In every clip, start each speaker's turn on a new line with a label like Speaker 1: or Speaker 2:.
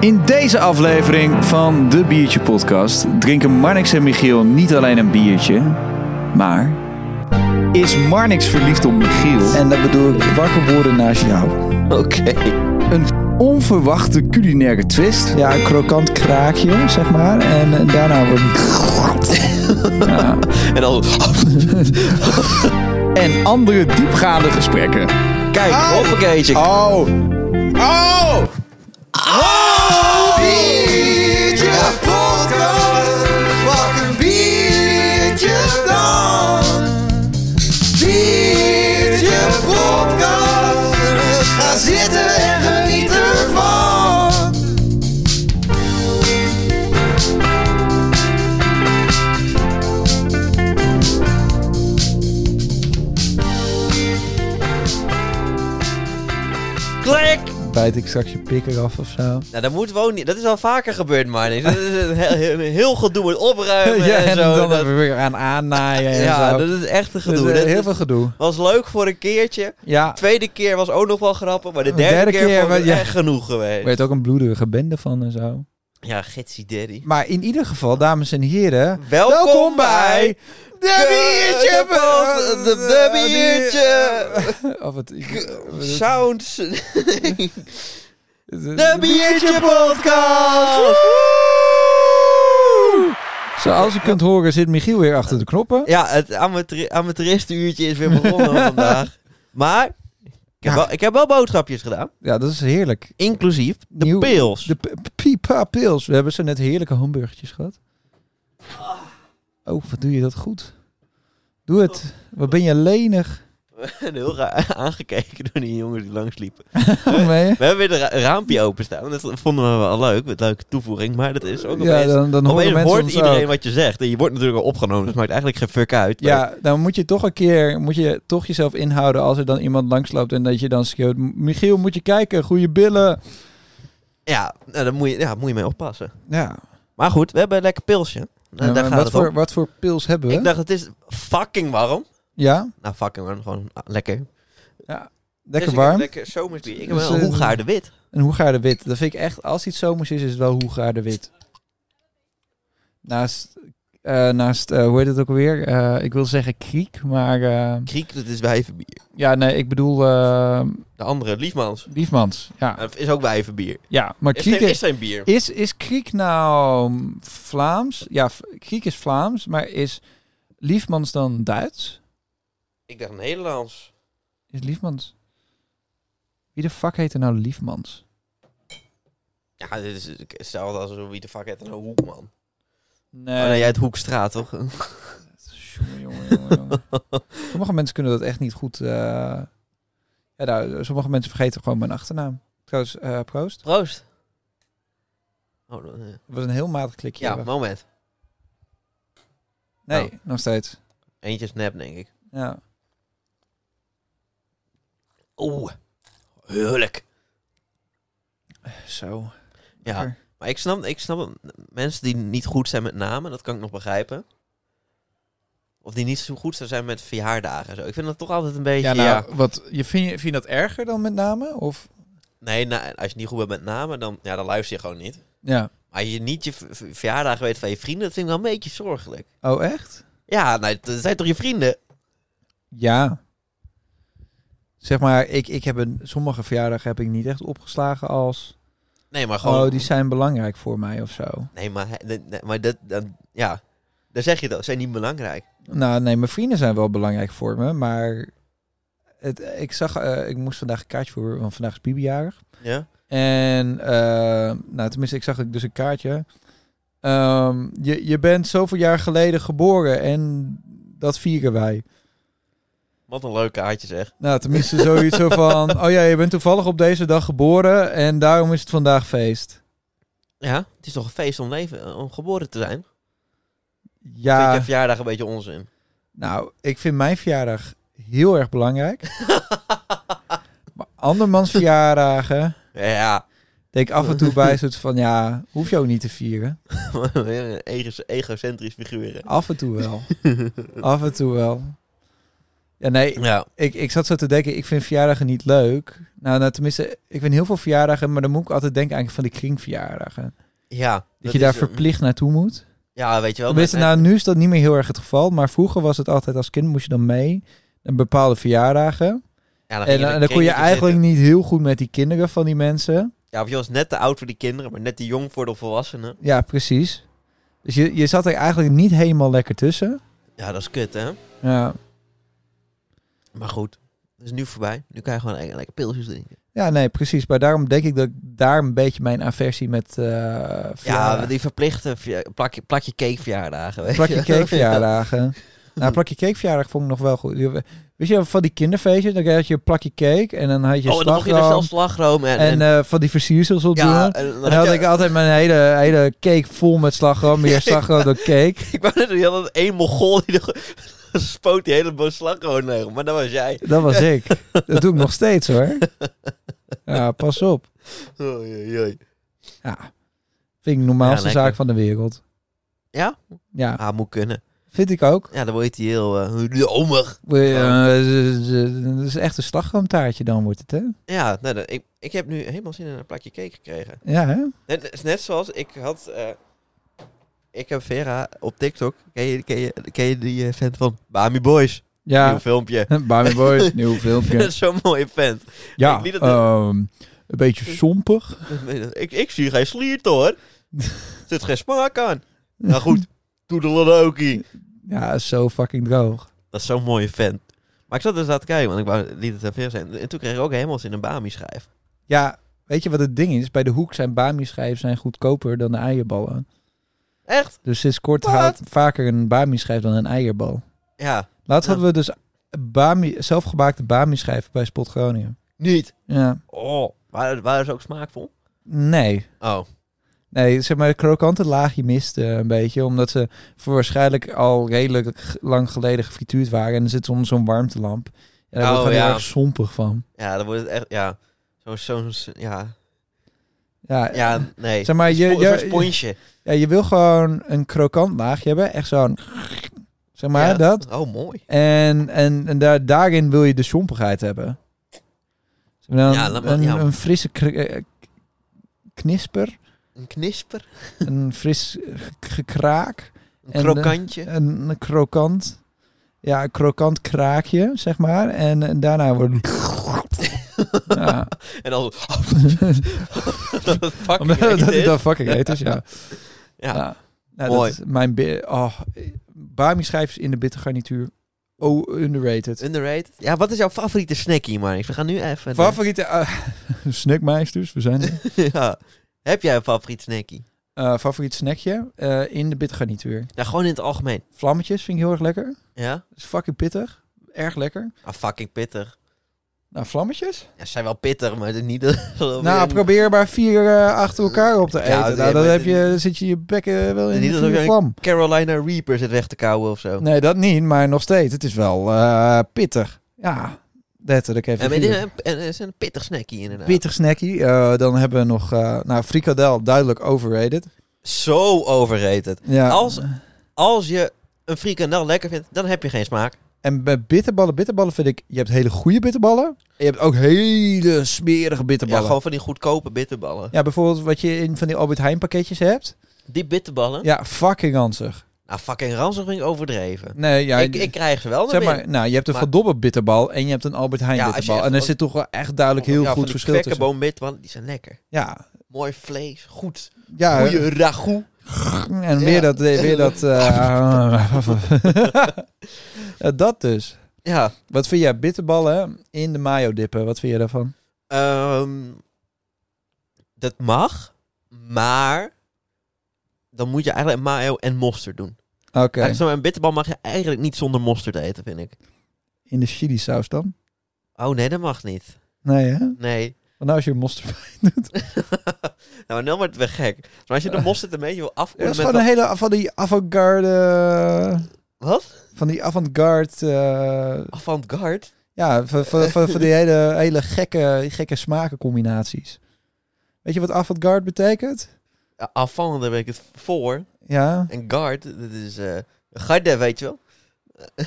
Speaker 1: In deze aflevering van de Biertje Podcast drinken Marnix en Michiel niet alleen een biertje, maar is Marnix verliefd op Michiel
Speaker 2: En dat bedoel ik wakker worden naast jou.
Speaker 3: Oké.
Speaker 1: een onverwachte culinaire twist?
Speaker 2: Ja, een krokant kraakje, zeg maar. En, eh, daarna we...
Speaker 3: En dan... oh,
Speaker 1: En andere diepgaande gesprekken.
Speaker 3: Kijk,
Speaker 2: Ah!
Speaker 3: hoppakeetje.
Speaker 2: Oh!
Speaker 3: Oh. Klik!
Speaker 2: Bijt ik straks je pikker af of zo?
Speaker 3: Nou, dat moet gewoon niet. Dat is al vaker gebeurd, Marnix. Dat is een heel, een heel gedoe met opruimen
Speaker 2: Ja,
Speaker 3: en
Speaker 2: en
Speaker 3: zo.
Speaker 2: dan
Speaker 3: Dat-
Speaker 2: hebben we weer aan aannaaien en
Speaker 3: ja,
Speaker 2: zo.
Speaker 3: dat is echt een gedoe.
Speaker 2: Dus, eh,
Speaker 3: Dat
Speaker 2: heel veel gedoe.
Speaker 3: was leuk voor een keertje.
Speaker 2: Ja,
Speaker 3: Tweede keer was ook nog wel grappig, maar de
Speaker 2: De
Speaker 3: derde,
Speaker 2: derde
Speaker 3: keer,
Speaker 2: keer
Speaker 3: was
Speaker 2: was- ja.
Speaker 3: echt genoeg
Speaker 2: er
Speaker 3: geweest.
Speaker 2: werd ook een bloederige bende van en zo.
Speaker 3: Ja, gitsie daddy.
Speaker 2: Maar in ieder geval, dames en heren...
Speaker 3: Welkom, bij
Speaker 2: De
Speaker 3: Biertje Pod- de- de Biertje-
Speaker 2: Of het... De
Speaker 3: Sounds. De Biertje Podcast!
Speaker 2: Zoals u kunt horen zit Michiel weer achter de knoppen.
Speaker 3: Ja, het amateur, amateuristenuurtje is weer begonnen vandaag. Maar ik heb,
Speaker 2: Ja.
Speaker 3: wel, ik heb wel boodschapjes gedaan.
Speaker 2: Ja, dat is heerlijk.
Speaker 3: Inclusief de
Speaker 2: Nieuw-
Speaker 3: pils.
Speaker 2: De p- Pipa Pils. We hebben ze net heerlijke hamburgertjes gehad. Oh, wat doe je dat goed. Doe het. Wat ben je lenig.
Speaker 3: En heel raar aangekeken door die jongens die langsliepen.
Speaker 2: Meen je?
Speaker 3: We hebben weer een ra- raampje openstaan. Dat vonden we wel leuk. Met leuke toevoeging. Maar dat is ook
Speaker 2: Ja,
Speaker 3: opeens...
Speaker 2: dan, dan horen
Speaker 3: opeens
Speaker 2: mensen
Speaker 3: hoort
Speaker 2: ons
Speaker 3: iedereen
Speaker 2: ook.
Speaker 3: wat je zegt. En je wordt natuurlijk al opgenomen. Dus maakt eigenlijk geen fuck uit. Maar-
Speaker 2: Ja, dan moet je toch een keer, moet je toch jezelf inhouden als er dan iemand langsloopt en dat je dan schreeuwt, Michiel moet je kijken, goede billen.
Speaker 3: ja nou, daar moet je, ja, moet je mee oppassen.
Speaker 2: Ja,
Speaker 3: Maar goed, we hebben een lekker pilsje. Nou,
Speaker 2: Ja,
Speaker 3: daar
Speaker 2: maar
Speaker 3: gaat
Speaker 2: wat,
Speaker 3: het om.
Speaker 2: voor, wat voor pils hebben we?
Speaker 3: Ik dacht, het is fucking warm.
Speaker 2: ja,
Speaker 3: Nou, fucking warm. Gewoon ah, lekker.
Speaker 2: lekker
Speaker 3: Dus ik heb
Speaker 2: warm.
Speaker 3: Lekker zomersbier. Ik heb
Speaker 2: Dus,
Speaker 3: wel een
Speaker 2: eh,
Speaker 3: Hoegaarde wit.
Speaker 2: En hoegaarde wit. Dat vind ik echt, als iets zomers is, is het wel hoegaarde wit. Naast, eh, naast eh, hoe heet het ook alweer? Eh, ik wil zeggen kriek, maar eh,
Speaker 3: Kriek, dat is wijvenbier.
Speaker 2: ja, nee, ik bedoel eh,
Speaker 3: De andere, Liefmans.
Speaker 2: Liefmans. Ja,
Speaker 3: Dat is ook wijvenbier.
Speaker 2: ja maar
Speaker 3: Is
Speaker 2: kriek
Speaker 3: geen,
Speaker 2: is,
Speaker 3: is geen bier.
Speaker 2: is, is kriek nou mm, Vlaams? Ja, v- kriek is Vlaams, maar is Liefmans dan Duits?
Speaker 3: Ik dacht Nederlands.
Speaker 2: Is Liefmans... Wie de fuck heet er nou Liefmans?
Speaker 3: Ja, Ah, dit is hetzelfde als wie de fuck heet een hoekman.
Speaker 2: Nee,
Speaker 3: Oh, nee, jij het Hoekstraat, toch?
Speaker 2: Jongen, jongen, jongen, jongen. sommige mensen kunnen dat echt niet goed. eh, ja, nou, sommige mensen vergeten gewoon mijn achternaam. Trouwens, eh, proost.
Speaker 3: Proost. Oh, dan, eh,
Speaker 2: Dat was een heel matig klikje.
Speaker 3: ja, nou.
Speaker 2: hebben.
Speaker 3: moment.
Speaker 2: nee, nog steeds.
Speaker 3: Eentje is nep, denk ik.
Speaker 2: Ja.
Speaker 3: Oeh. Heerlijk.
Speaker 2: Zo.
Speaker 3: Ja,
Speaker 2: Lekker.
Speaker 3: maar ik snap, ik snap mensen die niet goed zijn met namen, dat kan ik nog begrijpen. Of die niet zo goed zijn met verjaardagen. en Zo. Ik vind dat toch altijd een beetje...
Speaker 2: Ja, nou,
Speaker 3: ja.
Speaker 2: Wat, je, vind, je, vind je dat erger dan met name? Of?
Speaker 3: Nee, nou, als je niet goed bent met namen, dan, ja, dan luister je gewoon niet.
Speaker 2: Ja.
Speaker 3: Maar als je niet je v- v- verjaardag weet van je vrienden, dat vind ik wel een beetje zorgelijk.
Speaker 2: Oh, echt?
Speaker 3: Ja, nou, dat zijn toch je vrienden?
Speaker 2: Ja. Zeg maar, ik, ik heb een, sommige verjaardagen heb ik niet echt opgeslagen als...
Speaker 3: Nee, maar gewoon...
Speaker 2: Oh, die zijn belangrijk voor mij of zo.
Speaker 3: Nee, maar, hè, nee, nee, maar dat, dan- ja, daar zeg je dat. Zijn niet belangrijk.
Speaker 2: Nou, nee, mijn vrienden zijn wel belangrijk voor me, maar het, ik zag, eh, ik moest vandaag een kaartje voor, want vandaag is Bibi jarig.
Speaker 3: Ja?
Speaker 2: En, eh, nou, tenminste, ik zag dus een kaartje. Ehm, je, je bent zoveel jaar geleden geboren en dat vieren wij.
Speaker 3: Wat een leuk kaartje zeg.
Speaker 2: Nou, tenminste, zoiets zo van, oh ja, je bent toevallig op deze dag geboren en daarom is het vandaag feest.
Speaker 3: Ja, het is toch een feest om, leven, om geboren te zijn? Vind je
Speaker 2: Ja,
Speaker 3: verjaardag een beetje onzin?
Speaker 2: nou, ik vind mijn verjaardag heel erg belangrijk. maar andermans verjaardagen...
Speaker 3: Ja,
Speaker 2: denk ik af en toe bij soort van ja, hoef je ook niet te vieren.
Speaker 3: een ego- egocentrisch figuren.
Speaker 2: Af en toe wel. af en toe wel. Ja, nee,
Speaker 3: Ja.
Speaker 2: ik, ik zat zo te denken, ik vind verjaardagen niet leuk. Nou, nou, tenminste, ik vind heel veel verjaardagen, maar dan moet ik altijd denken eigenlijk van de kringverjaardagen. Dat,
Speaker 3: ja dat,
Speaker 2: je
Speaker 3: is
Speaker 2: daar
Speaker 3: hem.
Speaker 2: verplicht naartoe moet.
Speaker 3: Ja, weet je wel.
Speaker 2: Tenminste,
Speaker 3: maar-
Speaker 2: nou, nu is dat niet meer heel erg het geval. Maar vroeger was het altijd als kind moest je dan mee naar bepaalde verjaardagen.
Speaker 3: ja,
Speaker 2: En,
Speaker 3: ging in
Speaker 2: dan- en
Speaker 3: een
Speaker 2: dan kon je
Speaker 3: kringetje
Speaker 2: eigenlijk
Speaker 3: zitten.
Speaker 2: niet heel goed met die kinderen van die mensen.
Speaker 3: Ja, of je was net te oud voor die kinderen, maar net te jong voor de volwassenen.
Speaker 2: Ja, precies. Dus je, je zat er eigenlijk niet helemaal lekker tussen.
Speaker 3: Ja, dat is kut, hè?
Speaker 2: Ja,
Speaker 3: Maar goed, het is nu voorbij. Nu kan je gewoon lekker, lekker pilsjes drinken.
Speaker 2: ja nee, precies. Maar daarom denk ik dat ik daar een beetje mijn aversie met eh
Speaker 3: Ja,
Speaker 2: verjaardagen-
Speaker 3: die verplichte verja- plakje, plakje cakeverjaardagen, weet
Speaker 2: plakje
Speaker 3: je.
Speaker 2: cakeverjaardagen. nou, plakje cakeverjaardag vond ik nog wel goed. Je- Weet je, van die kinderfeestjes, dan had je een plakje cake en dan had je
Speaker 3: oh, en dan mocht je er
Speaker 2: slagroom
Speaker 3: zelf slagroom en...
Speaker 2: en, eh, van die versiersels op doen.
Speaker 3: ja, en dan
Speaker 2: Dan
Speaker 3: had
Speaker 2: had
Speaker 3: je-
Speaker 2: ik altijd mijn hele, hele cake vol met slagroom. Meer slagroom dan cake.
Speaker 3: ik wou net zeggen, je had één mogol die er spoot die hele boos slagroom neer. Maar dat was jij.
Speaker 2: Dat was ik. Dat doe ik nog steeds hoor. Ja, pas op.
Speaker 3: Oei, oei, oei.
Speaker 2: Ja. Vind ik de normaalste
Speaker 3: Ja, lekker.
Speaker 2: zaak van de wereld.
Speaker 3: Ja?
Speaker 2: Ja,
Speaker 3: Ah, moet kunnen.
Speaker 2: vind ik ook.
Speaker 3: Ja, dan word je heel eh omig.
Speaker 2: Eh,
Speaker 3: Oh.
Speaker 2: Het is echt een slagroomtaartje dan wordt het hè.
Speaker 3: Ja, nou, dan- ik, ik heb nu helemaal zin in een plakje cake gekregen.
Speaker 2: Ja hè?
Speaker 3: Net, het is net zoals ik had... eh, ik heb Vera op TikTok. Ken je, ken je, ken je die eh, vent van Bami Boys? Nieuw
Speaker 2: Ja.
Speaker 3: filmpje.
Speaker 2: Barmy Boys, nieuw
Speaker 3: Ik vind
Speaker 2: filmpje.
Speaker 3: het zo'n mooie vent.
Speaker 2: Ja,
Speaker 3: niet dat-
Speaker 2: ehm, een beetje sompig.
Speaker 3: Ik, ik zie geen sliert hoor. Er zit geen smaak aan. Nou goed, toedeledokie.
Speaker 2: Ja, zo fucking droog.
Speaker 3: Dat is zo'n mooie vent. Maar ik zat dus aan te kijken, want ik wou, liet het even zijn. En toen kreeg ik ook helemaal zin in een Bami-schijf.
Speaker 2: Ja, weet je wat het ding is? Bij de hoek zijn bami zijn goedkoper dan de eierballen.
Speaker 3: Echt?
Speaker 2: Dus sinds kort
Speaker 3: Wat?
Speaker 2: haalt vaker een bami-schijf dan een eierbal.
Speaker 3: Ja.
Speaker 2: Laatst
Speaker 3: Ja.
Speaker 2: hadden we dus bami, zelfgemaakte bami-schijven bij Spot Groningen.
Speaker 3: Niet.
Speaker 2: Ja.
Speaker 3: Oh. Waren, waren ze ook smaakvol?
Speaker 2: Nee.
Speaker 3: Oh.
Speaker 2: Nee, zeg maar, de krokante laagje miste een beetje. Omdat ze voor waarschijnlijk al redelijk g- lang geleden gefrituurd waren. En er zit soms zo'n warmtelamp. En daar
Speaker 3: Oh,
Speaker 2: word ik
Speaker 3: ja.
Speaker 2: heel erg sompig van.
Speaker 3: Ja, dan wordt het echt, ja. Zo'n, zo'n, s- ja.
Speaker 2: Ja, eh,
Speaker 3: Ja, nee.
Speaker 2: Zeg maar, je,
Speaker 3: Spo-
Speaker 2: je,
Speaker 3: zo'n sponsje.
Speaker 2: ja, je wil gewoon een krokant laagje hebben. Echt zo'n... Zeg maar,
Speaker 3: Ja.
Speaker 2: dat.
Speaker 3: Oh, mooi.
Speaker 2: En, en, en daar, daarin wil je de sompigheid hebben. Zeg maar dan
Speaker 3: Ja, laat maar-
Speaker 2: een,
Speaker 3: ja.
Speaker 2: een frisse kri- eh, k- knisper,
Speaker 3: Een knisper.
Speaker 2: een fris ge- gekraak,
Speaker 3: Een
Speaker 2: En, eh,
Speaker 3: krokantje.
Speaker 2: een, een krokant, ja, een krokant kraakje, zeg maar. En, en daarna wordt het... ja,
Speaker 3: En dan...
Speaker 2: omdat
Speaker 3: Fucking
Speaker 2: dat
Speaker 3: heet
Speaker 2: het
Speaker 3: is.
Speaker 2: dan fucking heet is, ja.
Speaker 3: Ja.
Speaker 2: Nou,
Speaker 3: Mooi.
Speaker 2: Dat is mijn... bi- Oh, Bami schijfjes in de bitter garnituur. Oh, underrated.
Speaker 3: Underrated. Ja, wat is jouw favoriete snackie, Marnix? We gaan nu even...
Speaker 2: Favoriete... Uh, Snackmeisters, we zijn er.
Speaker 3: ja. Heb jij een favoriet snackie?
Speaker 2: Eh, favoriet snackje eh, in de bittergarnituur.
Speaker 3: Nou, gewoon in het algemeen.
Speaker 2: Vlammetjes vind ik heel erg lekker.
Speaker 3: Ja?
Speaker 2: is fucking pittig. Erg lekker.
Speaker 3: Ah, fucking pittig.
Speaker 2: Nou, vlammetjes?
Speaker 3: Ja, ze zijn wel pittig, maar het is niet... dat-
Speaker 2: nou, probeer maar vier eh, achter elkaar op te eten.
Speaker 3: dat-
Speaker 2: nou, dan
Speaker 3: maar-
Speaker 2: heb je, zit je je bekken wel in
Speaker 3: Niet
Speaker 2: de
Speaker 3: dat er
Speaker 2: vuur
Speaker 3: een-
Speaker 2: vlam.
Speaker 3: Carolina Reaper zit weg te kauwen of zo.
Speaker 2: Nee, dat niet, maar nog steeds. Het is wel eh, pittig. Ja, letterlijk even.
Speaker 3: en het is
Speaker 2: vuur.
Speaker 3: een, en het is een pittig snackie inderdaad.
Speaker 2: Pittig snackie. Eh, dan hebben we nog... eh, nou, frikadel, duidelijk overrated.
Speaker 3: Zo overrated.
Speaker 2: Ja.
Speaker 3: Als- Als je een frikandel lekker vindt, dan heb je geen smaak.
Speaker 2: En bij bitterballen, bitterballen vind ik... Je hebt hele goede bitterballen. En je hebt ook hele smerige
Speaker 3: Ja,
Speaker 2: bitterballen.
Speaker 3: gewoon van die goedkope bitterballen.
Speaker 2: Ja, bijvoorbeeld wat je in van die Albert Heijn pakketjes hebt.
Speaker 3: Die bitterballen?
Speaker 2: Ja, fucking ranzig.
Speaker 3: Nou, fucking ranzig vind ik overdreven.
Speaker 2: Nee, ja,
Speaker 3: ik, ik krijg ze wel naar
Speaker 2: zeg
Speaker 3: binnen.
Speaker 2: maar, nou, je hebt een
Speaker 3: Maar-
Speaker 2: Van Dobbe bitterbal en je hebt een Albert Heijn
Speaker 3: Ja, als je
Speaker 2: bitterbal.
Speaker 3: echt
Speaker 2: En er
Speaker 3: ook-
Speaker 2: zit toch wel echt duidelijk heel
Speaker 3: Ja, van
Speaker 2: goed
Speaker 3: die
Speaker 2: verschil tussen.
Speaker 3: kwekkenboom bitterballen, die zijn lekker.
Speaker 2: Ja,
Speaker 3: Mooi vlees, goed.
Speaker 2: ja.
Speaker 3: Goeie ragout.
Speaker 2: En weer
Speaker 3: Ja.
Speaker 2: dat, weer dat. eh, ja, dat dus.
Speaker 3: Ja,
Speaker 2: Wat vind jij bitterballen in de mayo dippen? Wat vind je daarvan?
Speaker 3: Ehm, dat mag, maar dan moet je eigenlijk mayo en mosterd doen.
Speaker 2: Oké.
Speaker 3: Eigenlijk Zo'n bitterbal mag je eigenlijk niet zonder mosterd eten, vind ik.
Speaker 2: In de chili saus dan?
Speaker 3: Oh nee, dat mag niet.
Speaker 2: Nee, hè?
Speaker 3: Nee.
Speaker 2: Want nou als je er mosterd.
Speaker 3: nou, dan wordt het weer gek. Maar als je de mosterd een beetje wil
Speaker 2: Ja, dat is
Speaker 3: afkoelen
Speaker 2: gewoon
Speaker 3: met...
Speaker 2: een hele van die avant-garde.
Speaker 3: wat- Wat?
Speaker 2: Van die avant-garde. eh,
Speaker 3: Avant-garde?
Speaker 2: Ja, van, van, van, van die hele, hele gekke, gekke smakencombinaties. Weet je wat avant-garde betekent?
Speaker 3: Ja, avant, daar ben ik het voor.
Speaker 2: Ja,
Speaker 3: En garde, dat is... eh garde, weet je wel?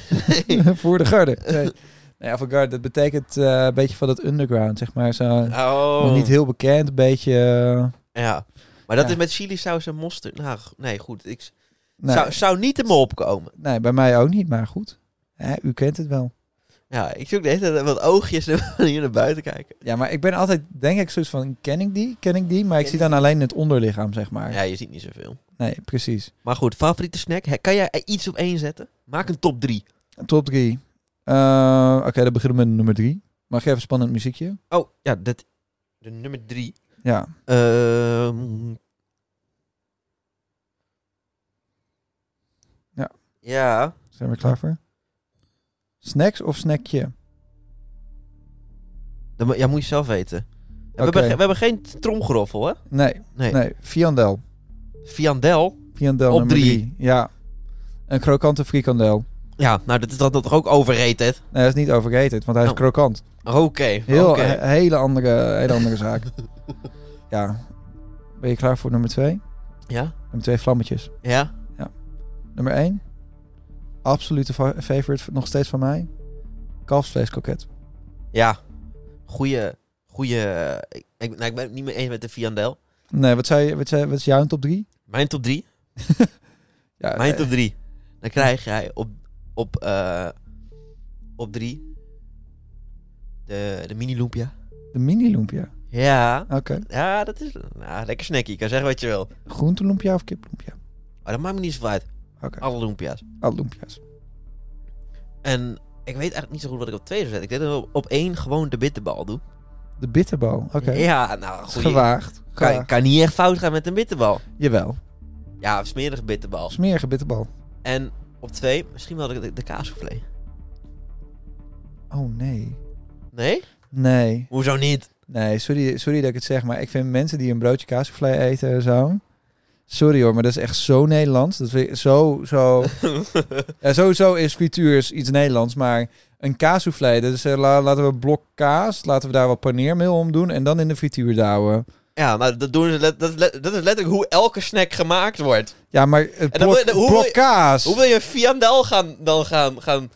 Speaker 2: voor de garde. Nee. Nee, avant-garde, dat betekent eh, een beetje van dat underground, zeg maar. Zo, nog
Speaker 3: Oh.
Speaker 2: Niet heel bekend, een beetje... eh,
Speaker 3: Ja. Maar dat
Speaker 2: Ja.
Speaker 3: is met chili saus en mosterd. Nou, g- nee, goed. Ik s-
Speaker 2: nee,
Speaker 3: zou, zou niet in me opkomen.
Speaker 2: nee, bij mij ook niet, maar goed. Ja, u kent het wel.
Speaker 3: Ja, ik zoek de hele tijd wat oogjes naar- hier naar buiten kijken.
Speaker 2: Ja, maar ik ben altijd, denk ik, zoiets van, ken ik die? Ken ik die? Maar ik
Speaker 3: Ken
Speaker 2: zie dan alleen het onderlichaam, zeg maar.
Speaker 3: Ja, je ziet niet zoveel.
Speaker 2: Nee, precies.
Speaker 3: Maar goed, favoriete snack? Hè, Kan jij er iets op één zetten? Maak een top drie.
Speaker 2: Top 3. Eh, Oké, dan beginnen we met nummer 3. Mag je even spannend muziekje?
Speaker 3: Oh, ja, dat, de nummer drie.
Speaker 2: Ja.
Speaker 3: Ehm.
Speaker 2: Ja.
Speaker 3: Ja.
Speaker 2: Zijn we er klaar voor? Snacks of snackje?
Speaker 3: Dat mo- ja, moet je zelf weten. En We,
Speaker 2: Oké.
Speaker 3: hebben, ge- we hebben geen tromgeroffel, hè?
Speaker 2: Nee,
Speaker 3: Nee.
Speaker 2: nee. Fiandel.
Speaker 3: Viandel.
Speaker 2: Fiandel
Speaker 3: Op
Speaker 2: nummer
Speaker 3: drie.
Speaker 2: drie. Ja. Een krokante frikandel.
Speaker 3: Ja, nou, dat is dat, dat toch ook overrated?
Speaker 2: Nee, dat is niet overrated, want hij is
Speaker 3: Oh.
Speaker 2: krokant.
Speaker 3: Oké.
Speaker 2: Heel,
Speaker 3: oké.
Speaker 2: he- hele, andere, hele andere zaak. Ja. Ben je klaar voor nummer twee?
Speaker 3: Ja?
Speaker 2: Nummer twee vlammetjes.
Speaker 3: Ja?
Speaker 2: Nummer één. Absolute fa- favorite nog steeds van mij. Kalfsvleeskoket.
Speaker 3: Ja. Goeie... Goeie... Ik, ik- nou, ik ben het niet meer eens met de Viandel.
Speaker 2: Nee, wat, zei, je- wat, zei, wat is jouw top drie?
Speaker 3: Mijn top 3.
Speaker 2: Ja,
Speaker 3: Mijn
Speaker 2: eh,
Speaker 3: top 3. Dan krijg jij op... Op... eh op 3. De, de mini lumpia.
Speaker 2: De mini lumpia.
Speaker 3: Ja.
Speaker 2: Oké.
Speaker 3: Ja, dat is... Nou, lekker snacky. Je kan zeggen wat je wil.
Speaker 2: Groente lumpia of kip lumpia?
Speaker 3: Maar dat maakt me niet zoveel uit.
Speaker 2: Oké.
Speaker 3: Alle lumpia's.
Speaker 2: Alle lumpia's.
Speaker 3: En ik weet eigenlijk niet zo goed wat ik op 2 zou zetten. Ik denk dat ik op 1 gewoon de bitterbal doe.
Speaker 2: De bitterbal. Oké.
Speaker 3: Ja, nou, goeie.
Speaker 2: Gewaagd.
Speaker 3: Kan,
Speaker 2: Gewaagd.
Speaker 3: kan niet echt fout gaan met een bitterbal.
Speaker 2: Jawel.
Speaker 3: Ja, een smerige bitterbal.
Speaker 2: Smerige bitterbal.
Speaker 3: En op 2, misschien wel de, de kaassoufflé.
Speaker 2: Oh nee.
Speaker 3: Nee?
Speaker 2: Nee.
Speaker 3: Hoezo niet?
Speaker 2: Nee, sorry, sorry dat ik het zeg, maar ik vind mensen die een broodje kaassoufflé eten en zo... Sorry hoor, maar dat is echt zo Nederlands. Dat vind ik zo, zo... ja, sowieso is frituurs iets Nederlands, maar een kaassoufflé... Dus eh, la- laten we een blok kaas, laten we daar wat paneermeel om doen... en dan in de frituur douwen.
Speaker 3: Ja, nou, dat, doen ze let- dat, is let- dat is letterlijk hoe elke snack gemaakt wordt.
Speaker 2: Ja, maar het
Speaker 3: En dan wil
Speaker 2: blok,
Speaker 3: je- hoe wil
Speaker 2: blok
Speaker 3: je-
Speaker 2: kaas...
Speaker 3: Hoe wil je viandel gaan, dan gaan, gaan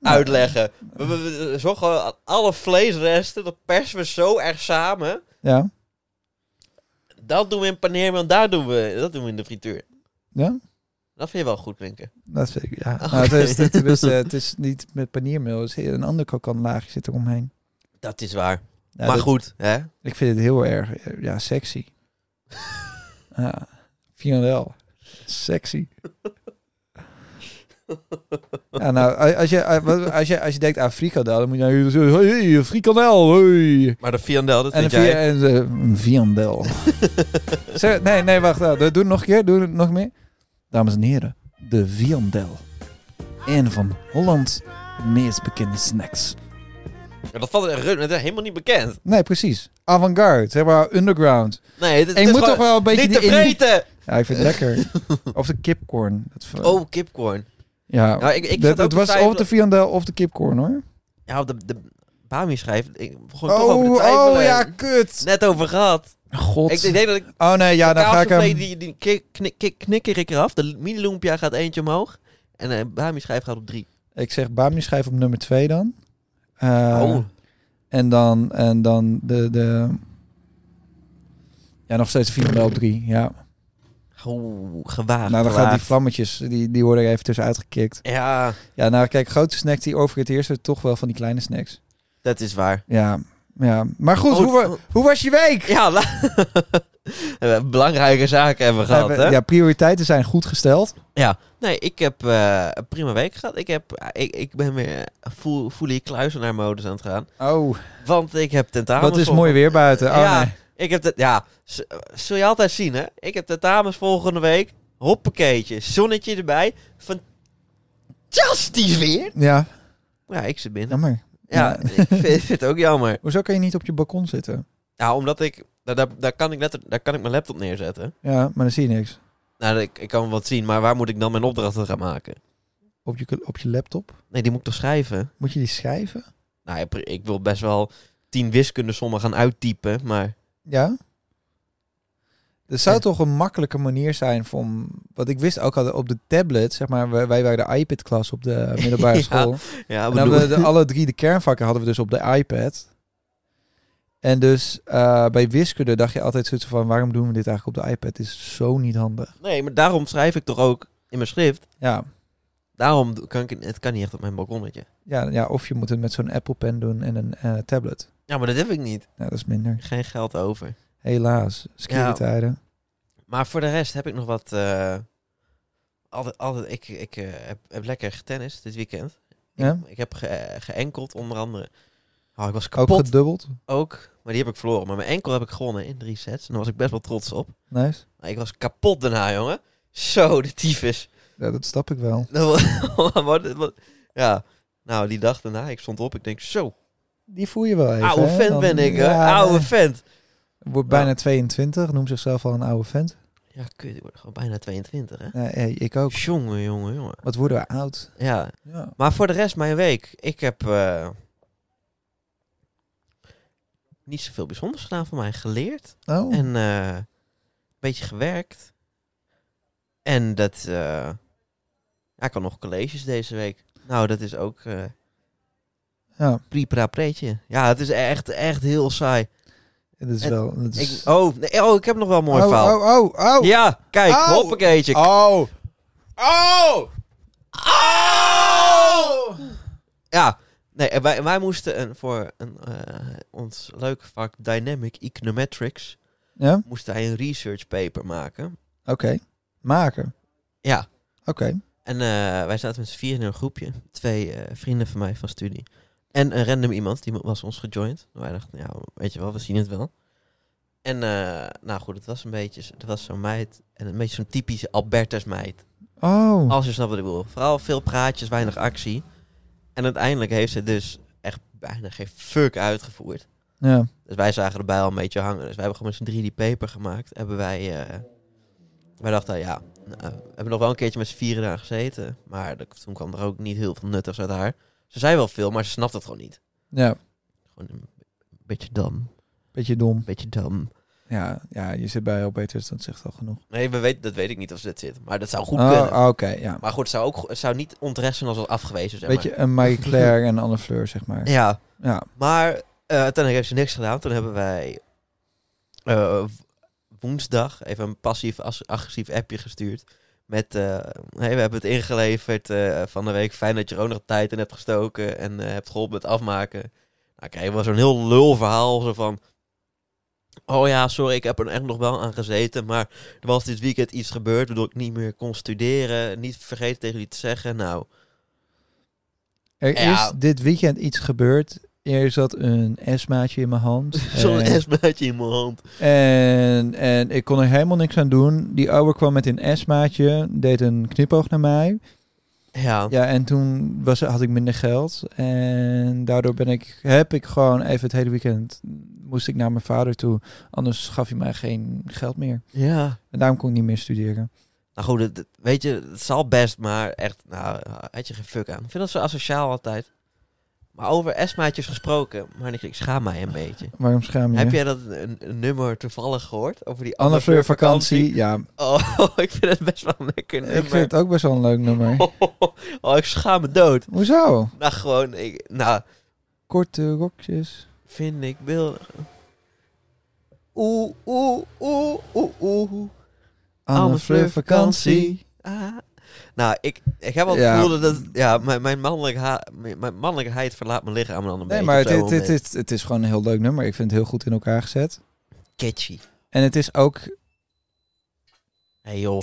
Speaker 2: Nou.
Speaker 3: uitleggen? We, we, we zorgen gewoon aan alle vleesresten, dat persen we zo erg samen.
Speaker 2: Ja,
Speaker 3: Dat doen we in paneermeel, en daar doen we, dat doen we in de frituur.
Speaker 2: ja,
Speaker 3: Dat vind je wel goed, Winken.
Speaker 2: dat vind ik, ja.
Speaker 3: Oké.
Speaker 2: Nou, het, is, het, is, eh, het is niet met paneermeel, het is een ander krokant laagje zit eromheen.
Speaker 3: Dat is waar.
Speaker 2: Ja,
Speaker 3: maar
Speaker 2: dat-
Speaker 3: goed, hè?
Speaker 2: Ik vind het heel erg, eh, ja, sexy. ja, wel. Sexy. ja, nou, a- als je, a- wat- als, je, als je denkt aan frikandel, dan moet je nou zo... Hey, frikandel, hey.
Speaker 3: Maar de viandel, dat
Speaker 2: En een,
Speaker 3: vind
Speaker 2: via,
Speaker 3: jij...
Speaker 2: en, eh, een viandel. Zeg, nee, nee, wacht. nou, doe doe het nog een keer. Doe het nog meer. Dames en heren, de viandel. Een van Holland meest bekende snacks.
Speaker 3: Maar Dat valt er dat is helemaal niet bekend.
Speaker 2: Nee, precies. Avant-garde, zeg maar underground.
Speaker 3: Nee, het,
Speaker 2: En je
Speaker 3: is
Speaker 2: moet toch
Speaker 3: gewoon
Speaker 2: wel een beetje
Speaker 3: niet te
Speaker 2: die indie-
Speaker 3: vreten!
Speaker 2: Ja, ik vind het lekker. Of de kipcorn. Dat v-
Speaker 3: Oh, kipcorn.
Speaker 2: ja.
Speaker 3: Nou, ik, ik
Speaker 2: dat,
Speaker 3: zat ook
Speaker 2: het
Speaker 3: te
Speaker 2: was
Speaker 3: twijfelen-
Speaker 2: of de viandel of de kipcorn hoor.
Speaker 3: Ja, op de, de Bami schrijf. Ik begon toch
Speaker 2: Oh,
Speaker 3: over te twijfelen.
Speaker 2: oh ja, kut.
Speaker 3: Net over gehad.
Speaker 2: God.
Speaker 3: Ik, ik denk dat ik
Speaker 2: oh nee, ja, dan ga ik
Speaker 3: kaassoufflé,
Speaker 2: hem.
Speaker 3: die, die knik, knik, knik- knikker ik eraf. De mini lumpia gaat eentje omhoog. En eh Bami schrijf gaat op drie.
Speaker 2: Ik zeg Bami schrijf op nummer 2 dan. Eh,
Speaker 3: oh,
Speaker 2: En dan, en dan de, de. Ja, nog steeds de viandel op 3. Ja.
Speaker 3: oh, gewaagd.
Speaker 2: nou, dan gaan die
Speaker 3: gewaagd.
Speaker 2: vlammetjes, die, die worden er even tussenuit gekikt.
Speaker 3: Ja,
Speaker 2: Ja, nou kijk, grote snacks die over het eerste toch wel van die kleine snacks.
Speaker 3: dat is waar.
Speaker 2: Ja, ja. Maar goed,
Speaker 3: Oh,
Speaker 2: hoe, wa-
Speaker 3: oh.
Speaker 2: hoe was je week?
Speaker 3: Ja, la- belangrijke zaken hebben we gehad,
Speaker 2: Ja, we-
Speaker 3: hè?
Speaker 2: Ja, prioriteiten zijn goed gesteld.
Speaker 3: Nee, ik heb eh, een prima week gehad. Ik, heb, eh, ik, ik ben weer eh, voel, voel ik kluizenaar modus aan het gaan.
Speaker 2: Oh,
Speaker 3: Want ik heb tentamens.
Speaker 2: wat is
Speaker 3: volgende-
Speaker 2: mooi weer buiten. Oh,
Speaker 3: ja,
Speaker 2: nee.
Speaker 3: ik heb dat. Ja, z- zul je altijd zien, hè? Ik heb tentamens volgende week. Hoppakeetje, zonnetje erbij. Fantastisch weer.
Speaker 2: Ja,
Speaker 3: Ja, ik zit binnen.
Speaker 2: jammer.
Speaker 3: Ja,
Speaker 2: Ja.
Speaker 3: ik vind, vind het ook jammer.
Speaker 2: Hoezo kan je niet op je balkon zitten?
Speaker 3: Ja, omdat ik. Daar, daar, daar kan ik letter, daar kan ik mijn laptop neerzetten.
Speaker 2: Ja, maar dan zie je niks.
Speaker 3: Nou, ik, ik kan wat zien, maar waar moet ik dan mijn opdrachten gaan maken?
Speaker 2: Op je, op je laptop?
Speaker 3: Nee, die moet ik toch schrijven?
Speaker 2: Moet je die schrijven?
Speaker 3: Nou, ik, ik wil best wel tien wiskundesommen gaan uittypen, maar...
Speaker 2: Ja. Er zou toch een makkelijke manier zijn voor... om- Want ik wist ook al op de tablet, zeg maar... Wij, wij waren de iPad-klas op de middelbare
Speaker 3: Ja,
Speaker 2: school.
Speaker 3: Ja,
Speaker 2: En
Speaker 3: Nou, we
Speaker 2: dan hadden
Speaker 3: doen-
Speaker 2: we de, alle drie de kernvakken hadden we dus op de iPad. En dus eh, bij wiskunde dacht je altijd zoiets van... waarom doen we dit eigenlijk op de iPad? Dit is zo niet handig.
Speaker 3: Nee, maar daarom schrijf ik toch ook in mijn schrift.
Speaker 2: Ja,
Speaker 3: Daarom do- kan ik het kan niet echt op mijn balkonnetje.
Speaker 2: ja, ja of je moet het met zo'n Apple Pen doen en een eh, tablet.
Speaker 3: Ja, maar dat heb ik niet.
Speaker 2: Nou, dat is minder.
Speaker 3: Geen geld over.
Speaker 2: Helaas. Skere
Speaker 3: Ja.
Speaker 2: tijden.
Speaker 3: Maar voor de rest heb ik nog wat. eh, altijd, altijd, ik ik eh, heb, heb lekker getennist dit weekend.
Speaker 2: Ja?
Speaker 3: Ik heb ge- eh, geënkeld onder andere. Oh, ik was
Speaker 2: Ook
Speaker 3: kapot ook,
Speaker 2: gedubbeld.
Speaker 3: maar die heb ik verloren. Maar mijn enkel heb ik gewonnen in drie sets. En daar was ik best wel trots op.
Speaker 2: Nice.
Speaker 3: Maar ik was kapot daarna, jongen. Zo, de tyfus.
Speaker 2: Ja, dat snap ik wel.
Speaker 3: Wat- wat- ja, nou, die dag daarna, ik stond op. Ik denk, zo,
Speaker 2: Die voel je wel even.
Speaker 3: oude
Speaker 2: hè?
Speaker 3: vent
Speaker 2: Dan-
Speaker 3: ben ik, hè.
Speaker 2: Ja,
Speaker 3: Oude vent.
Speaker 2: Wordt bijna 22, noemt zichzelf al een oude vent.
Speaker 3: Ja, kut, ik word gewoon bijna 22, hè.
Speaker 2: Nee, hey, ik ook.
Speaker 3: Jongen, jongen, jongen.
Speaker 2: Wat worden we oud.
Speaker 3: Ja,
Speaker 2: Ja.
Speaker 3: Maar voor de rest, mijn week. Ik heb eh, niet zoveel bijzonders gedaan van mij. Geleerd
Speaker 2: Oh,
Speaker 3: en eh, een beetje gewerkt. En dat... eh, ja, ik had nog colleges deze week. Nou, dat is ook eh
Speaker 2: ja.
Speaker 3: pripra preetje. Ja, het is echt, echt heel saai.
Speaker 2: Dat is
Speaker 3: Het-
Speaker 2: wel... Dat
Speaker 3: Ik,
Speaker 2: is...
Speaker 3: oh, nee, oh, ik heb nog wel een mooi
Speaker 2: oh,
Speaker 3: verhaal.
Speaker 2: oh, oh, oh.
Speaker 3: Ja, kijk,
Speaker 2: Au.
Speaker 3: hoppakeetje.
Speaker 2: Oh.
Speaker 3: Oh! Oh! Ja, nee, en wij, wij moesten een, voor een, eh, ons leuke vak Dynamic Econometrics,
Speaker 2: Ja,
Speaker 3: moesten wij een research paper maken.
Speaker 2: oké. Maken.
Speaker 3: Ja,
Speaker 2: Oké.
Speaker 3: en eh, wij zaten met z'n vier in een groepje. Twee eh, vrienden van mij van studie. En een random iemand, die was ons gejoind. En Wij dachten, ja, weet je wel, we zien het wel. En eh, nou goed, het was een beetje, het was zo'n meid, en een beetje zo'n typische Albertus meid.
Speaker 2: Oh.
Speaker 3: Als je snapt wat ik bedoel. Vooral veel praatjes, weinig actie. En uiteindelijk heeft ze dus echt bijna geen fuck uitgevoerd.
Speaker 2: Ja.
Speaker 3: Dus wij zagen erbij al een beetje hangen. Dus wij hebben gewoon met z'n 3D paper gemaakt. Hebben wij... eh, wij dachten, ja, nou, we hebben nog wel een keertje met z'n vieren daar gezeten. Maar de- toen kwam er ook niet heel veel nuttigs uit haar. Ze zei wel veel, maar ze snapt het gewoon niet.
Speaker 2: Ja.
Speaker 3: Gewoon een beetje dam, een
Speaker 2: Beetje dom.
Speaker 3: beetje dam.
Speaker 2: Ja, ja je zit bij Albertus, dat zegt al genoeg.
Speaker 3: Nee, we weet, dat weet ik niet of ze dit zit. Maar dat zou goed
Speaker 2: Oh,
Speaker 3: kunnen.
Speaker 2: oké, ja.
Speaker 3: Maar goed, het zou, ook, go- het zou niet onterecht zijn als het afgewezen, zeg maar.
Speaker 2: Beetje een Marie Claire en een Anne Fleur, zeg maar.
Speaker 3: Ja,
Speaker 2: Ja.
Speaker 3: Maar eh, uiteindelijk heeft ze niks gedaan. Toen hebben wij eh, w- woensdag even een passief-agressief appje gestuurd. Met, eh, hey, we hebben het ingeleverd eh, van de week. Fijn dat je er ook nog tijd in hebt gestoken en eh, hebt geholpen met afmaken. Nou, kijk, het was een heel lul verhaal. Zo van, oh ja, sorry, ik heb er echt nog wel aan gezeten. Maar er was dit weekend iets gebeurd, waardoor ik niet meer kon studeren. Niet vergeten tegen jullie te zeggen. Nou,
Speaker 2: Er
Speaker 3: Ja.
Speaker 2: is dit weekend iets gebeurd. Er zat een esmaatje in mijn hand.
Speaker 3: zo'n
Speaker 2: En-
Speaker 3: esmaatje in mijn hand.
Speaker 2: En, en ik kon er helemaal niks aan doen. Die ouwe kwam met een esmaatje, deed een knipoog naar mij.
Speaker 3: Ja.
Speaker 2: Ja, en toen was, had ik minder geld. En daardoor ben ik, heb ik gewoon even het hele weekend... moest ik naar mijn vader toe. Anders gaf hij mij geen geld meer.
Speaker 3: ja.
Speaker 2: En daarom kon ik niet meer studeren.
Speaker 3: Nou goed, het- het- weet je, het zal best, maar echt, nou, had je geen fuck aan. Ik vind dat zo asociaal altijd. Maar over Esmaatjes gesproken, maar ik schaam mij een beetje.
Speaker 2: Waarom schaam je
Speaker 3: Heb
Speaker 2: je?
Speaker 3: jij dat een, een nummer toevallig gehoord? Over die
Speaker 2: Anne Fleur
Speaker 3: Annefleur
Speaker 2: vakantie. Ja,
Speaker 3: Oh, ik vind het best wel een lekker
Speaker 2: ik
Speaker 3: nummer.
Speaker 2: vind het ook best wel een leuk nummer.
Speaker 3: Oh, ik schaam me dood.
Speaker 2: Hoezo?
Speaker 3: Nou, gewoon, ik, nou,
Speaker 2: Korte rokjes.
Speaker 3: vind ik beeld. Oeh, oeh, oeh, oeh, oeh.
Speaker 2: Anne Fleur vakantie.
Speaker 3: Ah. Nou, ik, ik heb al het
Speaker 2: Ja.
Speaker 3: gevoel dat... het- Ja, mijn, mijn, mannelijk ha- mijn, mijn mannelijkheid verlaat mijn lichaam dan een
Speaker 2: Nee,
Speaker 3: beetje.
Speaker 2: maar
Speaker 3: op
Speaker 2: het,
Speaker 3: zo'n
Speaker 2: het, het,
Speaker 3: moment.
Speaker 2: het- het is gewoon een heel leuk nummer. Ik vind het heel goed in elkaar gezet.
Speaker 3: Catchy.
Speaker 2: En het is ook...
Speaker 3: Hé hey, joh,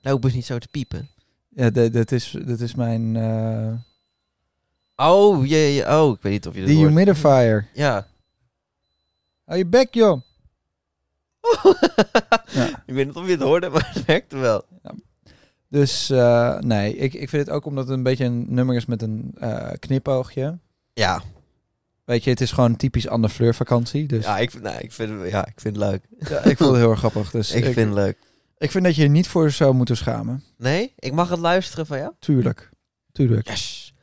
Speaker 3: loop eens niet zo te piepen.
Speaker 2: Ja, de- dat, is, dat is mijn... eh
Speaker 3: Oh, jee, jee, oh, ik weet niet of je dat
Speaker 2: die
Speaker 3: hoort.
Speaker 2: humidifier.
Speaker 3: Ja.
Speaker 2: Hou je bek, joh. Ja.
Speaker 3: Ik weet niet of je het hoorde, maar het werkte wel.
Speaker 2: Dus eh, nee, ik, ik vind het ook omdat het een beetje een nummer is met een eh, knipoogje.
Speaker 3: Ja,
Speaker 2: Weet je, het is gewoon typisch Anne Fleur vakantie. Dus ja.
Speaker 3: ja, ik, vind- nou, ik, vind, ja ik vind het leuk.
Speaker 2: ik vond het heel erg grappig. Dus
Speaker 3: ik, vind het leuk.
Speaker 2: ik vind dat je je niet voor zou moeten schamen.
Speaker 3: Nee? Ik mag het luisteren van jou?
Speaker 2: Tuurlijk. Tuurlijk.
Speaker 3: Yes.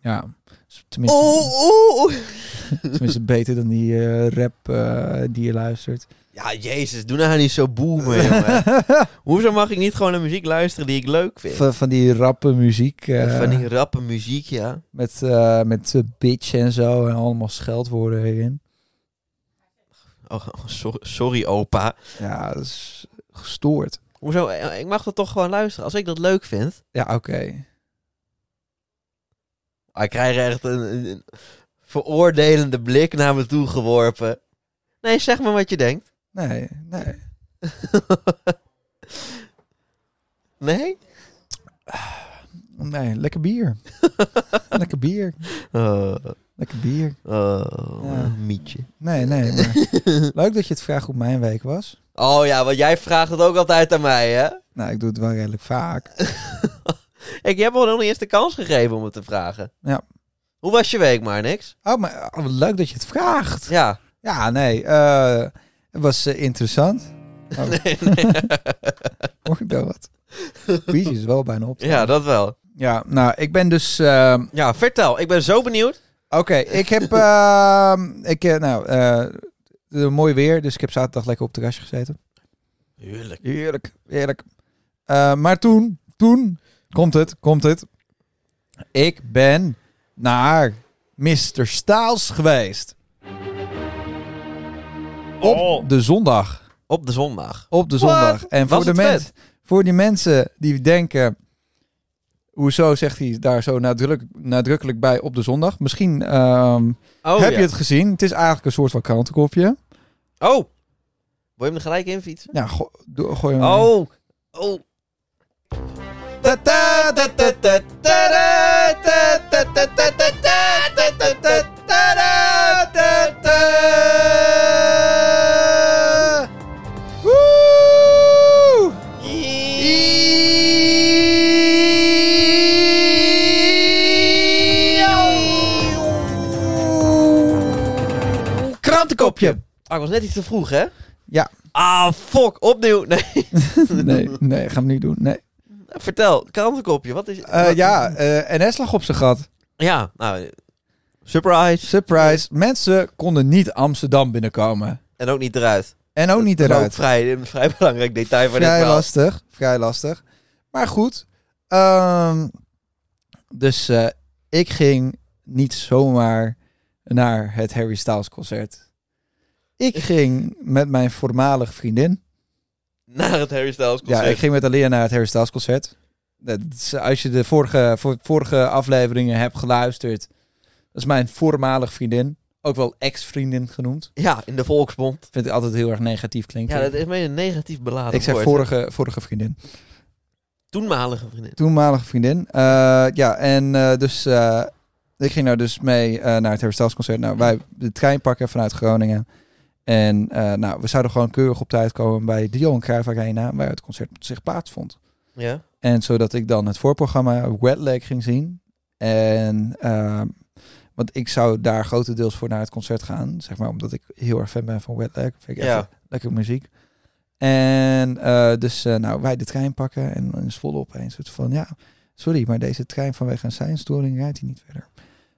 Speaker 2: Ja. Dus Tenminste,
Speaker 3: Oh. oeh, oeh.
Speaker 2: tenminste beter dan die eh, rap eh, die je luistert.
Speaker 3: Ja, jezus, doe nou niet zo boemen, jongen. Hoezo mag ik niet gewoon naar muziek luisteren die ik leuk vind?
Speaker 2: van, van die rappe muziek. eh,
Speaker 3: Van die rappe muziek, ja.
Speaker 2: Met, eh, met eh, bitch en zo en allemaal scheldwoorden erin.
Speaker 3: Oh, oh, so- sorry, opa.
Speaker 2: Ja, dat is gestoord.
Speaker 3: Hoezo? Eh, Ik mag dat toch gewoon luisteren als ik dat leuk vind.
Speaker 2: Ja, oké.
Speaker 3: Ah, Ik krijg echt een, een- een veroordelende blik naar me toe geworpen. Nee, zeg maar wat je denkt.
Speaker 2: Nee, nee.
Speaker 3: nee?
Speaker 2: Nee, lekker bier. lekker bier.
Speaker 3: Oh,
Speaker 2: Lekker bier.
Speaker 3: oh,
Speaker 2: Ja.
Speaker 3: mietje.
Speaker 2: Nee, nee. Maar leuk dat je het vraagt hoe mijn week was.
Speaker 3: Oh ja, want jij vraagt het ook altijd aan mij, hè?
Speaker 2: Nou, ik doe het wel redelijk vaak.
Speaker 3: Ik heb al nog niet eens de kans gegeven om het te vragen.
Speaker 2: Ja.
Speaker 3: Hoe was je week, maar niks?
Speaker 2: Oh, maar oh, wat leuk dat je het vraagt.
Speaker 3: Ja.
Speaker 2: Ja, nee. eh, het was eh, interessant. Oh.
Speaker 3: Nee, nee.
Speaker 2: Hoor ik daar wat? Biertje is wel bijna op.
Speaker 3: ja, dat wel.
Speaker 2: Ja, nou, ik ben dus... ehm,
Speaker 3: Ja, vertel. Ik ben zo benieuwd.
Speaker 2: Oké, ik heb... ehm, ik, eh, nou, eh, eh, mooi weer, dus ik heb zaterdag lekker op het terrasje gezeten.
Speaker 3: Heerlijk.
Speaker 2: Heerlijk, heerlijk. Eh, maar toen, toen... Komt het, komt het. Ik ben naar Mr. Staals geweest. Op
Speaker 3: Oh.
Speaker 2: de zondag.
Speaker 3: Op de zondag.
Speaker 2: Op de
Speaker 3: What?
Speaker 2: zondag. En
Speaker 3: Was
Speaker 2: voor, de
Speaker 3: het
Speaker 2: mens, voor die mensen die denken... Hoezo zegt hij daar zo nadruk, nadrukkelijk bij op de zondag? Misschien ehm,
Speaker 3: Oh,
Speaker 2: heb
Speaker 3: ja.
Speaker 2: je het gezien? Het is eigenlijk een soort van krantenkopje.
Speaker 3: Oh. Wil je hem er gelijk in fietsen?
Speaker 2: Ja, go doe- gooi hem ehm. erin.
Speaker 3: Oh. Oh. Ta ta ta ta ta ta ta ta ta ta ta ta ta ta ta ta ta ta.
Speaker 2: Woe!
Speaker 3: Krantenkopje. Ah, ik was net iets te vroeg, hè?
Speaker 2: Ja.
Speaker 3: Ah, fuck. Opnieuw. Nee,
Speaker 2: Nee, nee, gaan we niet doen. Nee.
Speaker 3: vertel. Krantenkopje. Wat is...
Speaker 2: Eh,
Speaker 3: wat-
Speaker 2: ja, en NS lag op zijn gat.
Speaker 3: Ja, nou... eh, Surprise.
Speaker 2: Surprise. Mensen konden niet Amsterdam binnenkomen.
Speaker 3: En ook niet eruit.
Speaker 2: En ook niet
Speaker 3: Dat is
Speaker 2: eruit.
Speaker 3: Ook vrij, een vrij belangrijk detail van dit
Speaker 2: vrij
Speaker 3: verhaal.
Speaker 2: lastig, vrij lastig. Maar goed. ehm, dus eh, ik ging niet zomaar naar het Harry Styles concert. Ik ging met mijn voormalige vriendin.
Speaker 3: Naar het Harry Styles
Speaker 2: Ja,
Speaker 3: concert.
Speaker 2: ik ging met Alia naar het Harry Styles concert. Dat is- Als je de vorige, voor- vorige afleveringen hebt geluisterd, dat is mijn voormalige vriendin. Ook wel ex-vriendin genoemd.
Speaker 3: Ja, in de Volksbond.
Speaker 2: Vind ik altijd heel erg negatief klinken.
Speaker 3: Ja, dat is mij een negatief beladen
Speaker 2: ik zeg
Speaker 3: woord.
Speaker 2: vorige, vorige vriendin.
Speaker 3: Toenmalige vriendin.
Speaker 2: toenmalige vriendin. Eh, ja, en eh, dus eh, ik ging daar dus mee eh, naar het herstelconcert. Nou, wij de trein pakken vanuit Groningen. En eh, nou, we zouden gewoon keurig op tijd komen bij de Johan Cruijff Arena, waar het concert zich plaatsvond.
Speaker 3: Ja.
Speaker 2: En zodat ik dan het voorprogramma Wetleg ging zien. En, eh, want ik zou daar grotendeels voor naar het concert gaan, zeg maar, omdat ik heel erg fan ben van Wetleg. Vind ik echt
Speaker 3: Ja.
Speaker 2: le- lekker muziek. En eh, dus, eh, nou, wij de trein pakken en dan is Volle opeens het van, ja, sorry, maar deze trein vanwege een seinstoring rijdt hij niet verder.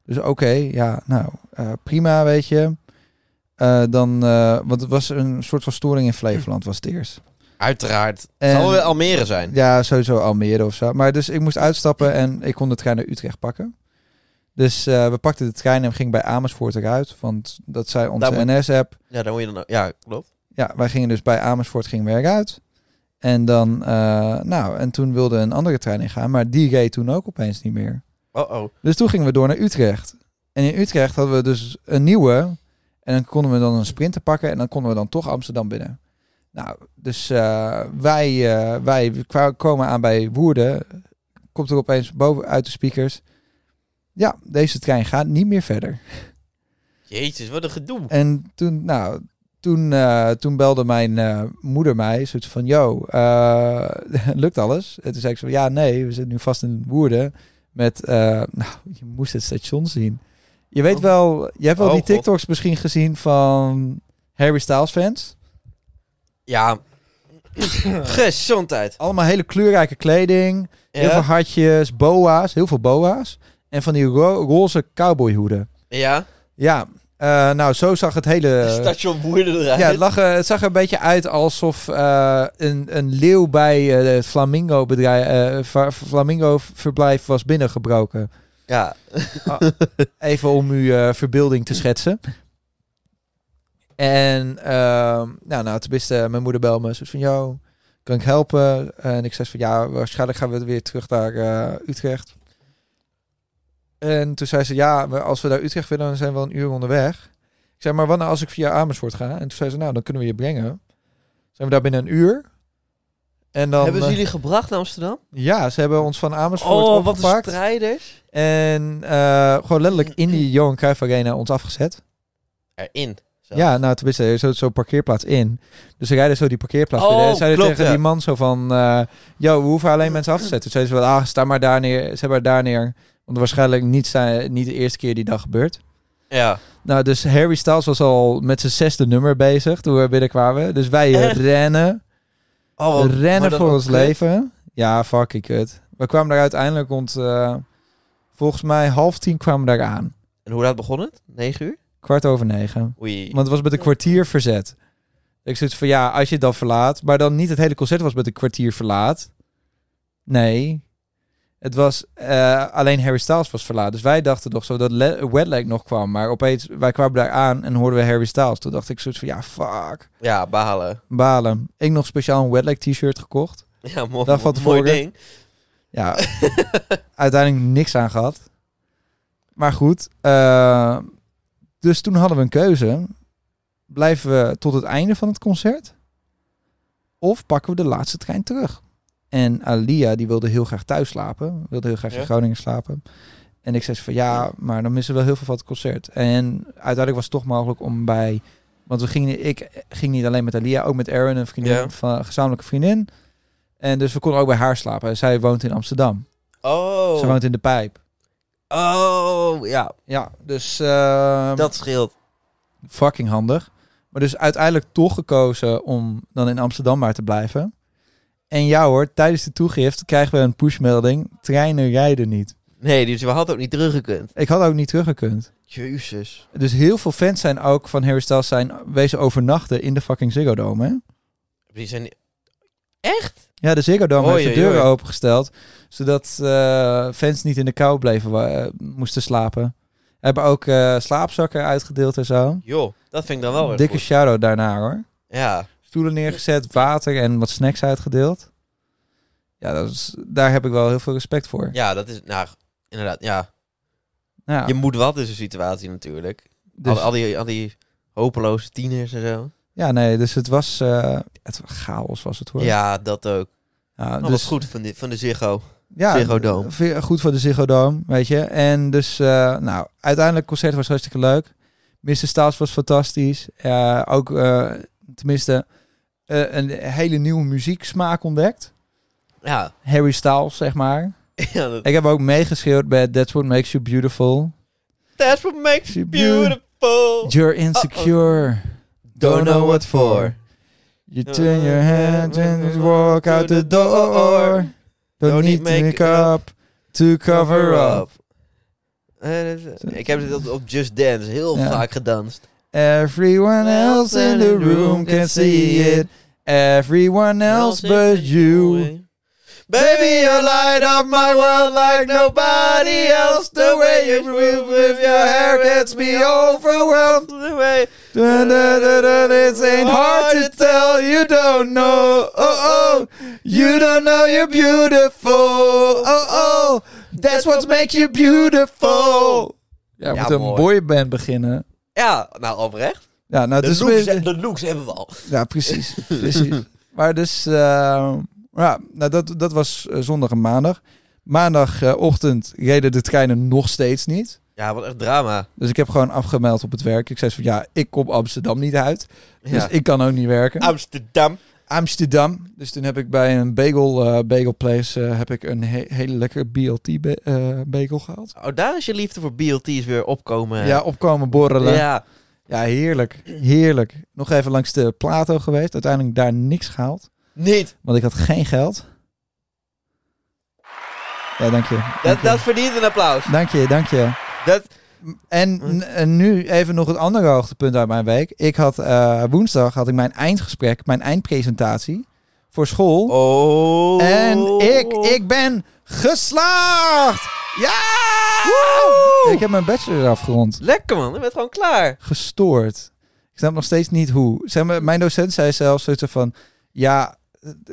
Speaker 2: Dus oké, ja, nou, eh, prima, weet je. Eh, dan, eh, want het was een soort van storing in Flevoland, was het eerst.
Speaker 3: Uiteraard.
Speaker 2: En-
Speaker 3: Zal weer Almere zijn.
Speaker 2: ja, sowieso Almere of zo. Maar dus ik moest uitstappen en ik kon de trein naar Utrecht pakken. Dus eh, we pakten de trein en we gingen bij Amersfoort eruit. Want dat zei onze
Speaker 3: Daar
Speaker 2: NS-app.
Speaker 3: Ja, dan moet je dan... Ja, klopt.
Speaker 2: Ja, wij gingen dus bij Amersfoort gingen we eruit. En dan, eh, nou, en toen wilde een andere trein ingaan. Maar die reed toen ook opeens niet meer.
Speaker 3: Oh-oh.
Speaker 2: Dus toen gingen we door naar Utrecht. En in Utrecht hadden we dus een nieuwe. En dan konden we dan een sprinter pakken. En dan konden we dan toch Amsterdam binnen. Nou, dus eh, wij, eh, wij kwa- komen aan bij Woerden. Komt er opeens boven uit de speakers. Ja, deze trein gaat niet meer verder.
Speaker 3: Jezus, wat een gedoe.
Speaker 2: En toen, nou, toen, eh, toen belde mijn eh, moeder mij. Zoiets van, yo, eh, lukt alles? En toen zei ik zo, ja, nee, we zitten nu vast in Woerden. Met, eh, nou, je moest het station zien. Je weet
Speaker 3: Oh.
Speaker 2: wel, je hebt wel
Speaker 3: Oh,
Speaker 2: die
Speaker 3: God.
Speaker 2: TikToks misschien gezien van Harry Styles fans.
Speaker 3: Ja. Gezondheid.
Speaker 2: Allemaal hele kleurrijke kleding. Heel veel
Speaker 3: Ja.
Speaker 2: hartjes, boa's, heel veel boa's. en van die ro- roze cowboyhoeden.
Speaker 3: Ja,
Speaker 2: Ja, eh, nou zo zag het hele...
Speaker 3: station Woerden eruit.
Speaker 2: Eh, Ja, het, lag, eh, het zag er een beetje uit alsof eh, een, een leeuw bij eh, het flamingo, eh, flamingo verblijf was binnengebroken.
Speaker 3: ja.
Speaker 2: Even om uw eh, verbeelding te schetsen. En ehm nou, nou, toen wist eh, mijn moeder belde me. Ze was van, jou kan ik helpen? En ik zei van, ja, waarschijnlijk gaan we weer terug naar eh, Utrecht. En toen zei ze, ja, we- als we naar Utrecht willen, dan zijn we al een uur onderweg. Ik zei, maar wat nou als ik via Amersfoort ga? En toen zei ze, nou, dan kunnen we je brengen. Zijn we daar binnen een uur? En dan...
Speaker 3: Hebben ze
Speaker 2: eh,
Speaker 3: jullie gebracht naar Amsterdam?
Speaker 2: Ja, ze hebben ons van Amersfoort
Speaker 3: Oh, wat een
Speaker 2: opgepakt.
Speaker 3: strijders.
Speaker 2: En eh, gewoon letterlijk in die Johan Cruijff Arena ons afgezet.
Speaker 3: Erin. zelfs.
Speaker 2: Ja, nou tenminste, er zat zo'n parkeerplaats in. Dus ze rijden zo die parkeerplaats
Speaker 3: Oh,
Speaker 2: binnen. En zeiden
Speaker 3: klopt,
Speaker 2: tegen
Speaker 3: ja.
Speaker 2: die man zo van... eh yo, we hoeven alleen mensen af te zetten. Toen zeiden ze wel, ah, sta maar daar neer. Zet maar daar neer. Want waarschijnlijk niet, zijn, niet de eerste keer die dag gebeurt.
Speaker 3: ja.
Speaker 2: Nou, dus Harry Styles was al met zijn zesde nummer bezig toen we binnenkwamen. Dus wij eh,
Speaker 3: Echt?
Speaker 2: rennen.
Speaker 3: Oh, wat- maar
Speaker 2: rennen
Speaker 3: dat
Speaker 2: voor
Speaker 3: ook
Speaker 2: ons
Speaker 3: kut.
Speaker 2: leven. Ja, fucking kut. We kwamen daar uiteindelijk rond... eh, volgens mij half tien kwamen we daar aan.
Speaker 3: En hoe laat begon het? 9 uur?
Speaker 2: Kwart over negen.
Speaker 3: Oei.
Speaker 2: Want het was met een kwartier verzet. Ik zit van ja, als je het dan verlaat. Maar dan niet het hele concert was met een kwartier verlaat. Nee. Het was eh, alleen Harry Styles was verlaat. Dus wij dachten nog zo dat Le- Wet Leg nog kwam. Maar opeens, wij kwamen daar aan en hoorden we Harry Styles. Toen dacht ik soort van ja, fuck.
Speaker 3: Ja, balen.
Speaker 2: Balen. Ik nog speciaal een Wet Leg t-shirt gekocht.
Speaker 3: Ja, mooi,
Speaker 2: Dag van
Speaker 3: mooi
Speaker 2: tevoren.
Speaker 3: ding.
Speaker 2: Ja, uiteindelijk niks aan gehad. Maar goed, eh, dus toen hadden we een keuze. Blijven we tot het einde van het concert? Of pakken we de laatste trein terug? En Alia, die wilde heel graag thuis slapen. Wilde heel graag
Speaker 3: Ja.
Speaker 2: in Groningen slapen. En ik zei ze van ja, maar dan missen we wel heel veel van het concert. En uiteindelijk was het toch mogelijk om bij... Want we gingen, ik ging niet alleen met Alia, ook met Aaron, een vriendin,
Speaker 3: Ja.
Speaker 2: van, een gezamenlijke vriendin. En dus we konden ook bij haar slapen. Zij woont in Amsterdam.
Speaker 3: Oh.
Speaker 2: Ze woont in De Pijp.
Speaker 3: Oh, ja.
Speaker 2: Ja, dus ehm,
Speaker 3: Dat scheelt.
Speaker 2: fucking handig. Maar dus uiteindelijk toch gekozen om dan in Amsterdam maar te blijven. En ja hoor, tijdens de toegift krijgen we een pushmelding. Treinen rijden niet.
Speaker 3: Nee, dus we hadden ook niet teruggekund.
Speaker 2: Ik had ook niet teruggekund.
Speaker 3: Jezus.
Speaker 2: Dus heel veel fans zijn ook van Harry Styles zijn wezen overnachten in de fucking Ziggo Dome. Hè?
Speaker 3: Die zijn...
Speaker 2: Ja, de Ziggo Dome
Speaker 3: Oei,
Speaker 2: heeft de
Speaker 3: oei,
Speaker 2: deuren
Speaker 3: oei.
Speaker 2: opengesteld. Zodat eh, fans niet in de kou bleven, wa- eh, moesten slapen. Hebben ook eh, slaapzakken uitgedeeld en zo.
Speaker 3: Joh, dat vind ik dan wel weer
Speaker 2: Dikke
Speaker 3: goed.
Speaker 2: shadow daarna hoor.
Speaker 3: Ja.
Speaker 2: stoelen neergezet, water en wat snacks uitgedeeld. Ja, dat is, daar heb ik wel heel veel respect voor.
Speaker 3: ja, dat is... Nou, inderdaad, ja.
Speaker 2: Ja,
Speaker 3: Je moet wat in zo'n situatie natuurlijk.
Speaker 2: dus,
Speaker 3: Al, al, die, al die hopeloze tieners en zo.
Speaker 2: ja nee, dus het was, eh, het was chaos was het hoor.
Speaker 3: Ja, dat ook.
Speaker 2: Ja, dus-
Speaker 3: Dat was goed van, die, van de Ziggo.
Speaker 2: Ja,
Speaker 3: Ziggo Dome.
Speaker 2: ve- goed voor de Ziggo Dome, weet je. En dus, eh, nou, uiteindelijk het concert was hartstikke leuk. Mr. Staals was fantastisch. Eh, ook, eh, tenminste, eh, een hele nieuwe muzieksmaak ontdekt.
Speaker 3: Ja.
Speaker 2: Harry Styles, zeg maar.
Speaker 3: ja dat,
Speaker 2: Ik heb ook meegeschreeuwd bij That's What Makes You Beautiful.
Speaker 3: That's what makes you beautiful.
Speaker 2: You're insecure.
Speaker 3: Don't know what for.
Speaker 2: You turn your head and just walk out the door. Don't need to make up to cover up.
Speaker 3: Eh, dat- Ik heb dit op, op Just Dance heel
Speaker 2: Ja.
Speaker 3: vaak gedanst.
Speaker 2: Everyone else in the room can see it. Everyone else but you.
Speaker 3: Baby, you light up my world like nobody else. The way you move with your hair gets me overwhelmed. The way
Speaker 2: Dun, dun, dun, dun, It ain't hard to tell. You don't know. Oh, oh. You don't know you're beautiful. Oh, oh. That's what makes you beautiful. Ja, we
Speaker 3: Ja,
Speaker 2: moeten een
Speaker 3: mooi.
Speaker 2: boyband beginnen.
Speaker 3: Ja, nou oprecht.
Speaker 2: Ja, nou,
Speaker 3: De,
Speaker 2: dus
Speaker 3: looks,
Speaker 2: we-
Speaker 3: de looks hebben we al.
Speaker 2: ja, precies. precies. Maar dus, eh, ja, nou, dat, dat was eh, zondag en maandag. Maandagochtend reden de treinen nog steeds niet.
Speaker 3: Ja, wat echt drama.
Speaker 2: Dus ik heb gewoon afgemeld op het werk. Ik zei van, ja, ik kom Amsterdam niet uit. Dus
Speaker 3: Ja.
Speaker 2: ik kan ook niet werken.
Speaker 3: Amsterdam.
Speaker 2: Amsterdam. Dus toen heb ik bij een bagel, eh, bagel place eh, heb ik een he- hele lekkere BLT ba- eh, bagel gehaald.
Speaker 3: Oh, daar is je liefde voor BLT's weer opkomen.
Speaker 2: Ja, opkomen borrelen. Ja.
Speaker 3: ja.
Speaker 2: heerlijk. Heerlijk. Nog even langs de Plato geweest. Uiteindelijk daar niks gehaald.
Speaker 3: Niet.
Speaker 2: Want ik had geen geld. Ja, dank je. Dank
Speaker 3: Dat,
Speaker 2: je.
Speaker 3: dat verdient een applaus.
Speaker 2: Dank je, dank je.
Speaker 3: Dat, Hm.
Speaker 2: En, n- en nu even nog het andere hoogtepunt uit mijn week. Ik had eh, woensdag had ik mijn eindgesprek, mijn eindpresentatie voor school.
Speaker 3: oh.
Speaker 2: En ik, ik ben geslaagd! Ja! Ik heb mijn bachelor afgerond.
Speaker 3: Lekker man, je bent gewoon klaar.
Speaker 2: Gestoord. Ik snap nog steeds niet hoe. Zeg maar, mijn docent zei zelfs zoiets van... Ja,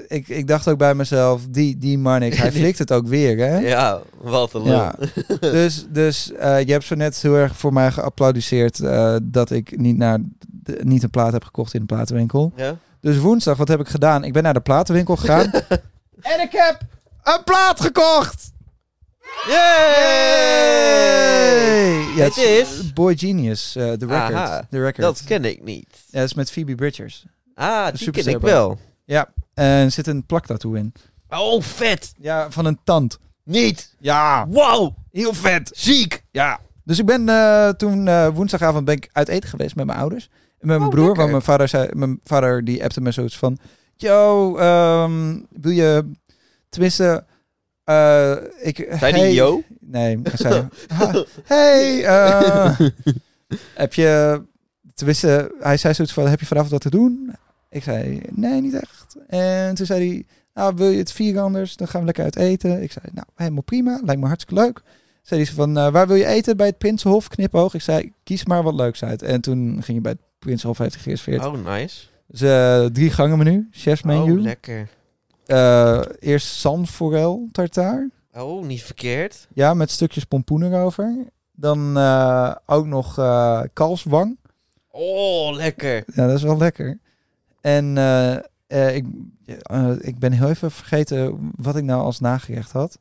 Speaker 2: ik, ik dacht ook bij mezelf, die, die Marnik, hij
Speaker 3: Die-
Speaker 2: flikt het ook weer, hè?
Speaker 3: Ja, wat een lul.
Speaker 2: Ja. Dus, dus eh, je hebt zo net heel erg voor mij geapplaudiceerd eh, dat ik niet, naar de- niet een plaat heb gekocht in de platenwinkel.
Speaker 3: Ja?
Speaker 2: Dus woensdag, wat heb ik gedaan? Ik ben naar de platenwinkel gegaan en ik heb een plaat gekocht!
Speaker 3: Yay!
Speaker 2: Hey! Ja,
Speaker 3: Het is-
Speaker 2: Boy Genius, eh, The Record.
Speaker 3: Aha,
Speaker 2: The record.
Speaker 3: Dat ken ik niet.
Speaker 2: Ja, dat is met Phoebe Bridgers.
Speaker 3: Ah, die
Speaker 2: Super
Speaker 3: ken ik
Speaker 2: Serba.
Speaker 3: wel.
Speaker 2: En er zit een plaktattoo in.
Speaker 3: Oh, vet.
Speaker 2: Ja, van een tand.
Speaker 3: Niet.
Speaker 2: Ja,
Speaker 3: Wow.
Speaker 2: heel vet.
Speaker 3: Ziek.
Speaker 2: Ja. Dus ik ben eh, toen eh, woensdagavond ben ik uit eten geweest met mijn ouders. En met mijn
Speaker 3: Oh,
Speaker 2: broer,
Speaker 3: lekker.
Speaker 2: want mijn vader, zei, mijn vader die appte me zoiets van... Yo, ehm, wil je... Tenminste, eh ik...
Speaker 3: Zijn
Speaker 2: hey-
Speaker 3: die yo?
Speaker 2: Nee, hij zei... "Ha, hey, eh, heb je... Tenminste, hij zei zoiets van, heb je vanavond wat te doen? Ik zei, nee, niet echt. En toen zei hij, nou, wil je het vieren anders? Dan gaan we lekker uit eten. Ik zei, nou, helemaal prima. Lijkt me hartstikke leuk. Zei hij zo van, eh, waar wil je eten? Bij het Prinsenhof, knipoog. Ik zei, kies maar wat leuks uit. En toen ging je bij het Prinsenhof, heeft gereserveerd.
Speaker 3: Oh, nice.
Speaker 2: Dus eh, drie gangen menu, chef's
Speaker 3: Oh,
Speaker 2: menu.
Speaker 3: lekker.
Speaker 2: Eh, eerst sanforel tartaar.
Speaker 3: Oh, niet verkeerd.
Speaker 2: Ja, met stukjes pompoen erover. Dan eh, ook nog eh, kalfswang.
Speaker 3: Oh, lekker.
Speaker 2: Ja, dat is wel lekker. En eh, eh, ik, eh, ik ben heel even vergeten wat ik nou als nagerecht had.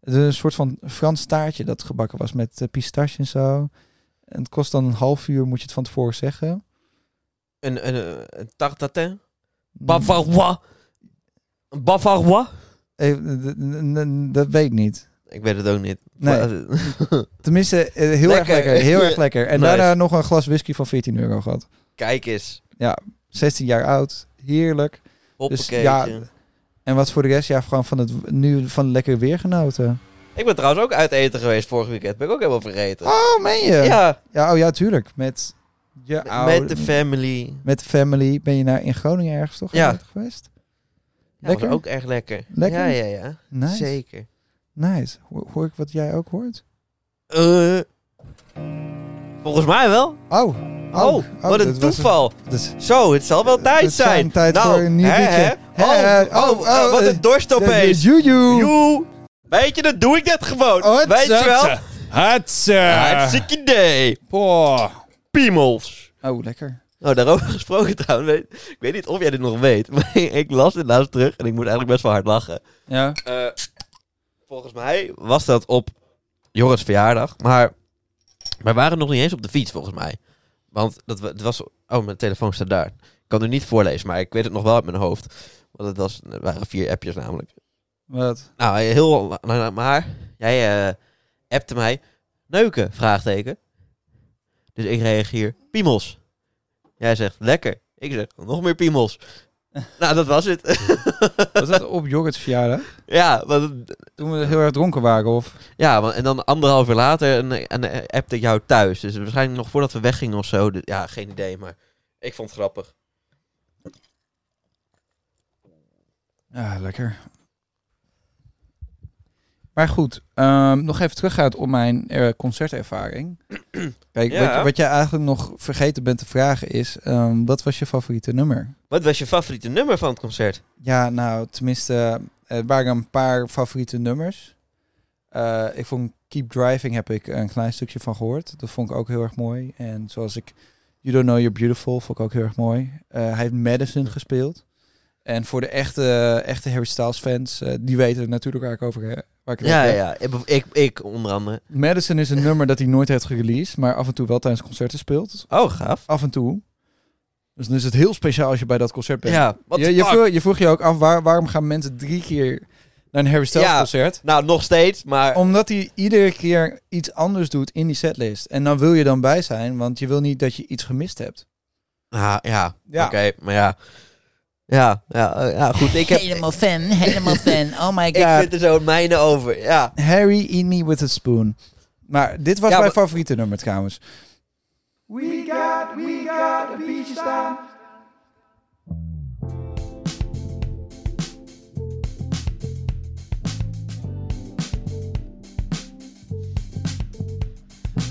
Speaker 2: Het is een soort van Frans taartje dat gebakken was met eh, pistache en zo. En het kost dan een half uur, moet je het van tevoren zeggen.
Speaker 3: Een, een, een, een
Speaker 2: Mm.
Speaker 3: tartatin. Bavarois. Een Bavarois.
Speaker 2: Eh, d- d- d- Dat weet ik niet.
Speaker 3: Ik weet het ook niet.
Speaker 2: Nee.
Speaker 3: Maar- eh,
Speaker 2: Tenminste, eh, heel
Speaker 3: Lekker.
Speaker 2: erg lekker. Heel erg lekker. En
Speaker 3: Nice.
Speaker 2: daarna nog een glas whisky van 14 euro gehad.
Speaker 3: Kijk eens.
Speaker 2: 16 jaar oud. Heerlijk.
Speaker 3: Hoppakeetje.
Speaker 2: Dus ja, En wat voor de rest, ja, gewoon van het nu van het lekkere weer genoten.
Speaker 3: Ik ben trouwens ook uit eten geweest vorig weekend. Ben ik ook helemaal vergeten.
Speaker 2: Oh, meen je?
Speaker 3: ja,
Speaker 2: Ja, Nou, oh ja, tuurlijk. Met je oude-
Speaker 3: met de family.
Speaker 2: met de family. Ben je naar in Groningen ergens toch
Speaker 3: Ja.
Speaker 2: geweest?
Speaker 3: Ja, was
Speaker 2: Lekker?
Speaker 3: ook echt lekker.
Speaker 2: Lekker?
Speaker 3: Ja, ja, ja.
Speaker 2: Nice.
Speaker 3: Zeker.
Speaker 2: Nice. Ho- Hoor ik wat jij ook hoort?
Speaker 3: Eh, volgens mij wel.
Speaker 2: Oh. Oh,
Speaker 3: Oh, wat
Speaker 2: dat
Speaker 3: een
Speaker 2: was
Speaker 3: toeval.
Speaker 2: dat is-
Speaker 3: Zo, het zal wel tijd
Speaker 2: Het zijn
Speaker 3: zijn.
Speaker 2: tijd
Speaker 3: nou,
Speaker 2: voor een nieuw
Speaker 3: hè,
Speaker 2: liedje.
Speaker 3: hè?
Speaker 2: Hè,
Speaker 3: Oh,
Speaker 2: oh,
Speaker 3: oh,
Speaker 2: oh,
Speaker 3: wat
Speaker 2: eh,
Speaker 3: een dorst
Speaker 2: dat is
Speaker 3: opeens.
Speaker 2: Juju.
Speaker 3: Joe. Weet je, dat doe ik net gewoon.
Speaker 2: Oh, het
Speaker 3: Weet je wel?
Speaker 2: zakt.
Speaker 1: Hatsa!
Speaker 3: Hartstikke idee.
Speaker 1: Boah.
Speaker 3: Piemels.
Speaker 2: Oh, lekker.
Speaker 3: Nou, daarover gesproken trouwens. weet- Ik weet niet of jij dit nog weet, maar ik las dit laatst terug en ik moet eigenlijk best wel hard lachen.
Speaker 2: Ja.
Speaker 3: Eh, volgens mij was dat op Joris verjaardag. Maar wij waren nog niet eens op de fiets, volgens mij. Want dat wa- het was... Oh, mijn telefoon staat daar. Ik kan nu niet voorlezen, maar ik weet het nog wel uit mijn hoofd. Want het, was, het waren vier appjes namelijk.
Speaker 2: Wat?
Speaker 3: Nou, heel... la- la- la- Maar jij eh appte mij... Neuken? Vraagteken. Dus ik reageer... Piemels. Jij zegt, lekker. Ik zeg, nog meer piemels. nou, dat was het.
Speaker 2: Was dat op Jorrit's verjaardag?
Speaker 3: ja, want
Speaker 2: Toen we heel erg dronken waren, of?
Speaker 3: Ja, want- en dan anderhalf uur later een, een appte ik jou thuis. Dus waarschijnlijk nog voordat we weggingen of zo. Dus ja, geen idee, maar ik vond het grappig.
Speaker 2: Ja, lekker. Maar goed, ehm, nog even teruggaat op mijn eh, concertervaring. Kijk,
Speaker 3: Ja.
Speaker 2: wat, wat jij eigenlijk nog vergeten bent te vragen is... ehm, wat was je favoriete nummer?
Speaker 3: Wat was je favoriete nummer van het concert?
Speaker 2: Ja, nou, tenminste, eh, het waren een paar favoriete nummers. Eh, ik vond Keep Driving heb ik een klein stukje van gehoord. Dat vond ik ook heel erg mooi. En zoals ik You Don't Know You're Beautiful vond ik ook heel erg mooi. Eh, hij heeft Madison gespeeld. En voor de echte, echte Harry Styles fans, eh, die weten natuurlijk waar ik over eh, waar ik het
Speaker 3: Ja,
Speaker 2: over heb.
Speaker 3: ja, ik, ik, ik onder andere.
Speaker 2: Madison is een nummer dat hij nooit heeft gereleased, maar af en toe wel tijdens concerten speelt.
Speaker 3: Oh, gaaf.
Speaker 2: Af en toe. Dus dan is het heel speciaal als je bij dat concert bent.
Speaker 3: Ja, wat
Speaker 2: Je, je, vroeg, je vroeg je ook af, waar, waarom gaan mensen drie keer naar een Harry Styles
Speaker 3: Ja.
Speaker 2: concert?
Speaker 3: Nou, nog steeds, maar...
Speaker 2: Omdat hij iedere keer iets anders doet in die setlist. En dan wil je dan bij zijn, want je wil niet dat je iets gemist hebt.
Speaker 3: Nou, ja,
Speaker 2: Ja.
Speaker 3: oké, maar ja. Ja, ja, eh, ja goed. Ik, heb, ik
Speaker 2: fan, helemaal fan. Oh my
Speaker 3: vind er zo een mijne over. Ja.
Speaker 2: Harry, eat me with a spoon. Maar dit was
Speaker 3: Ja,
Speaker 2: mijn
Speaker 3: maar-
Speaker 2: favoriete nummer trouwens.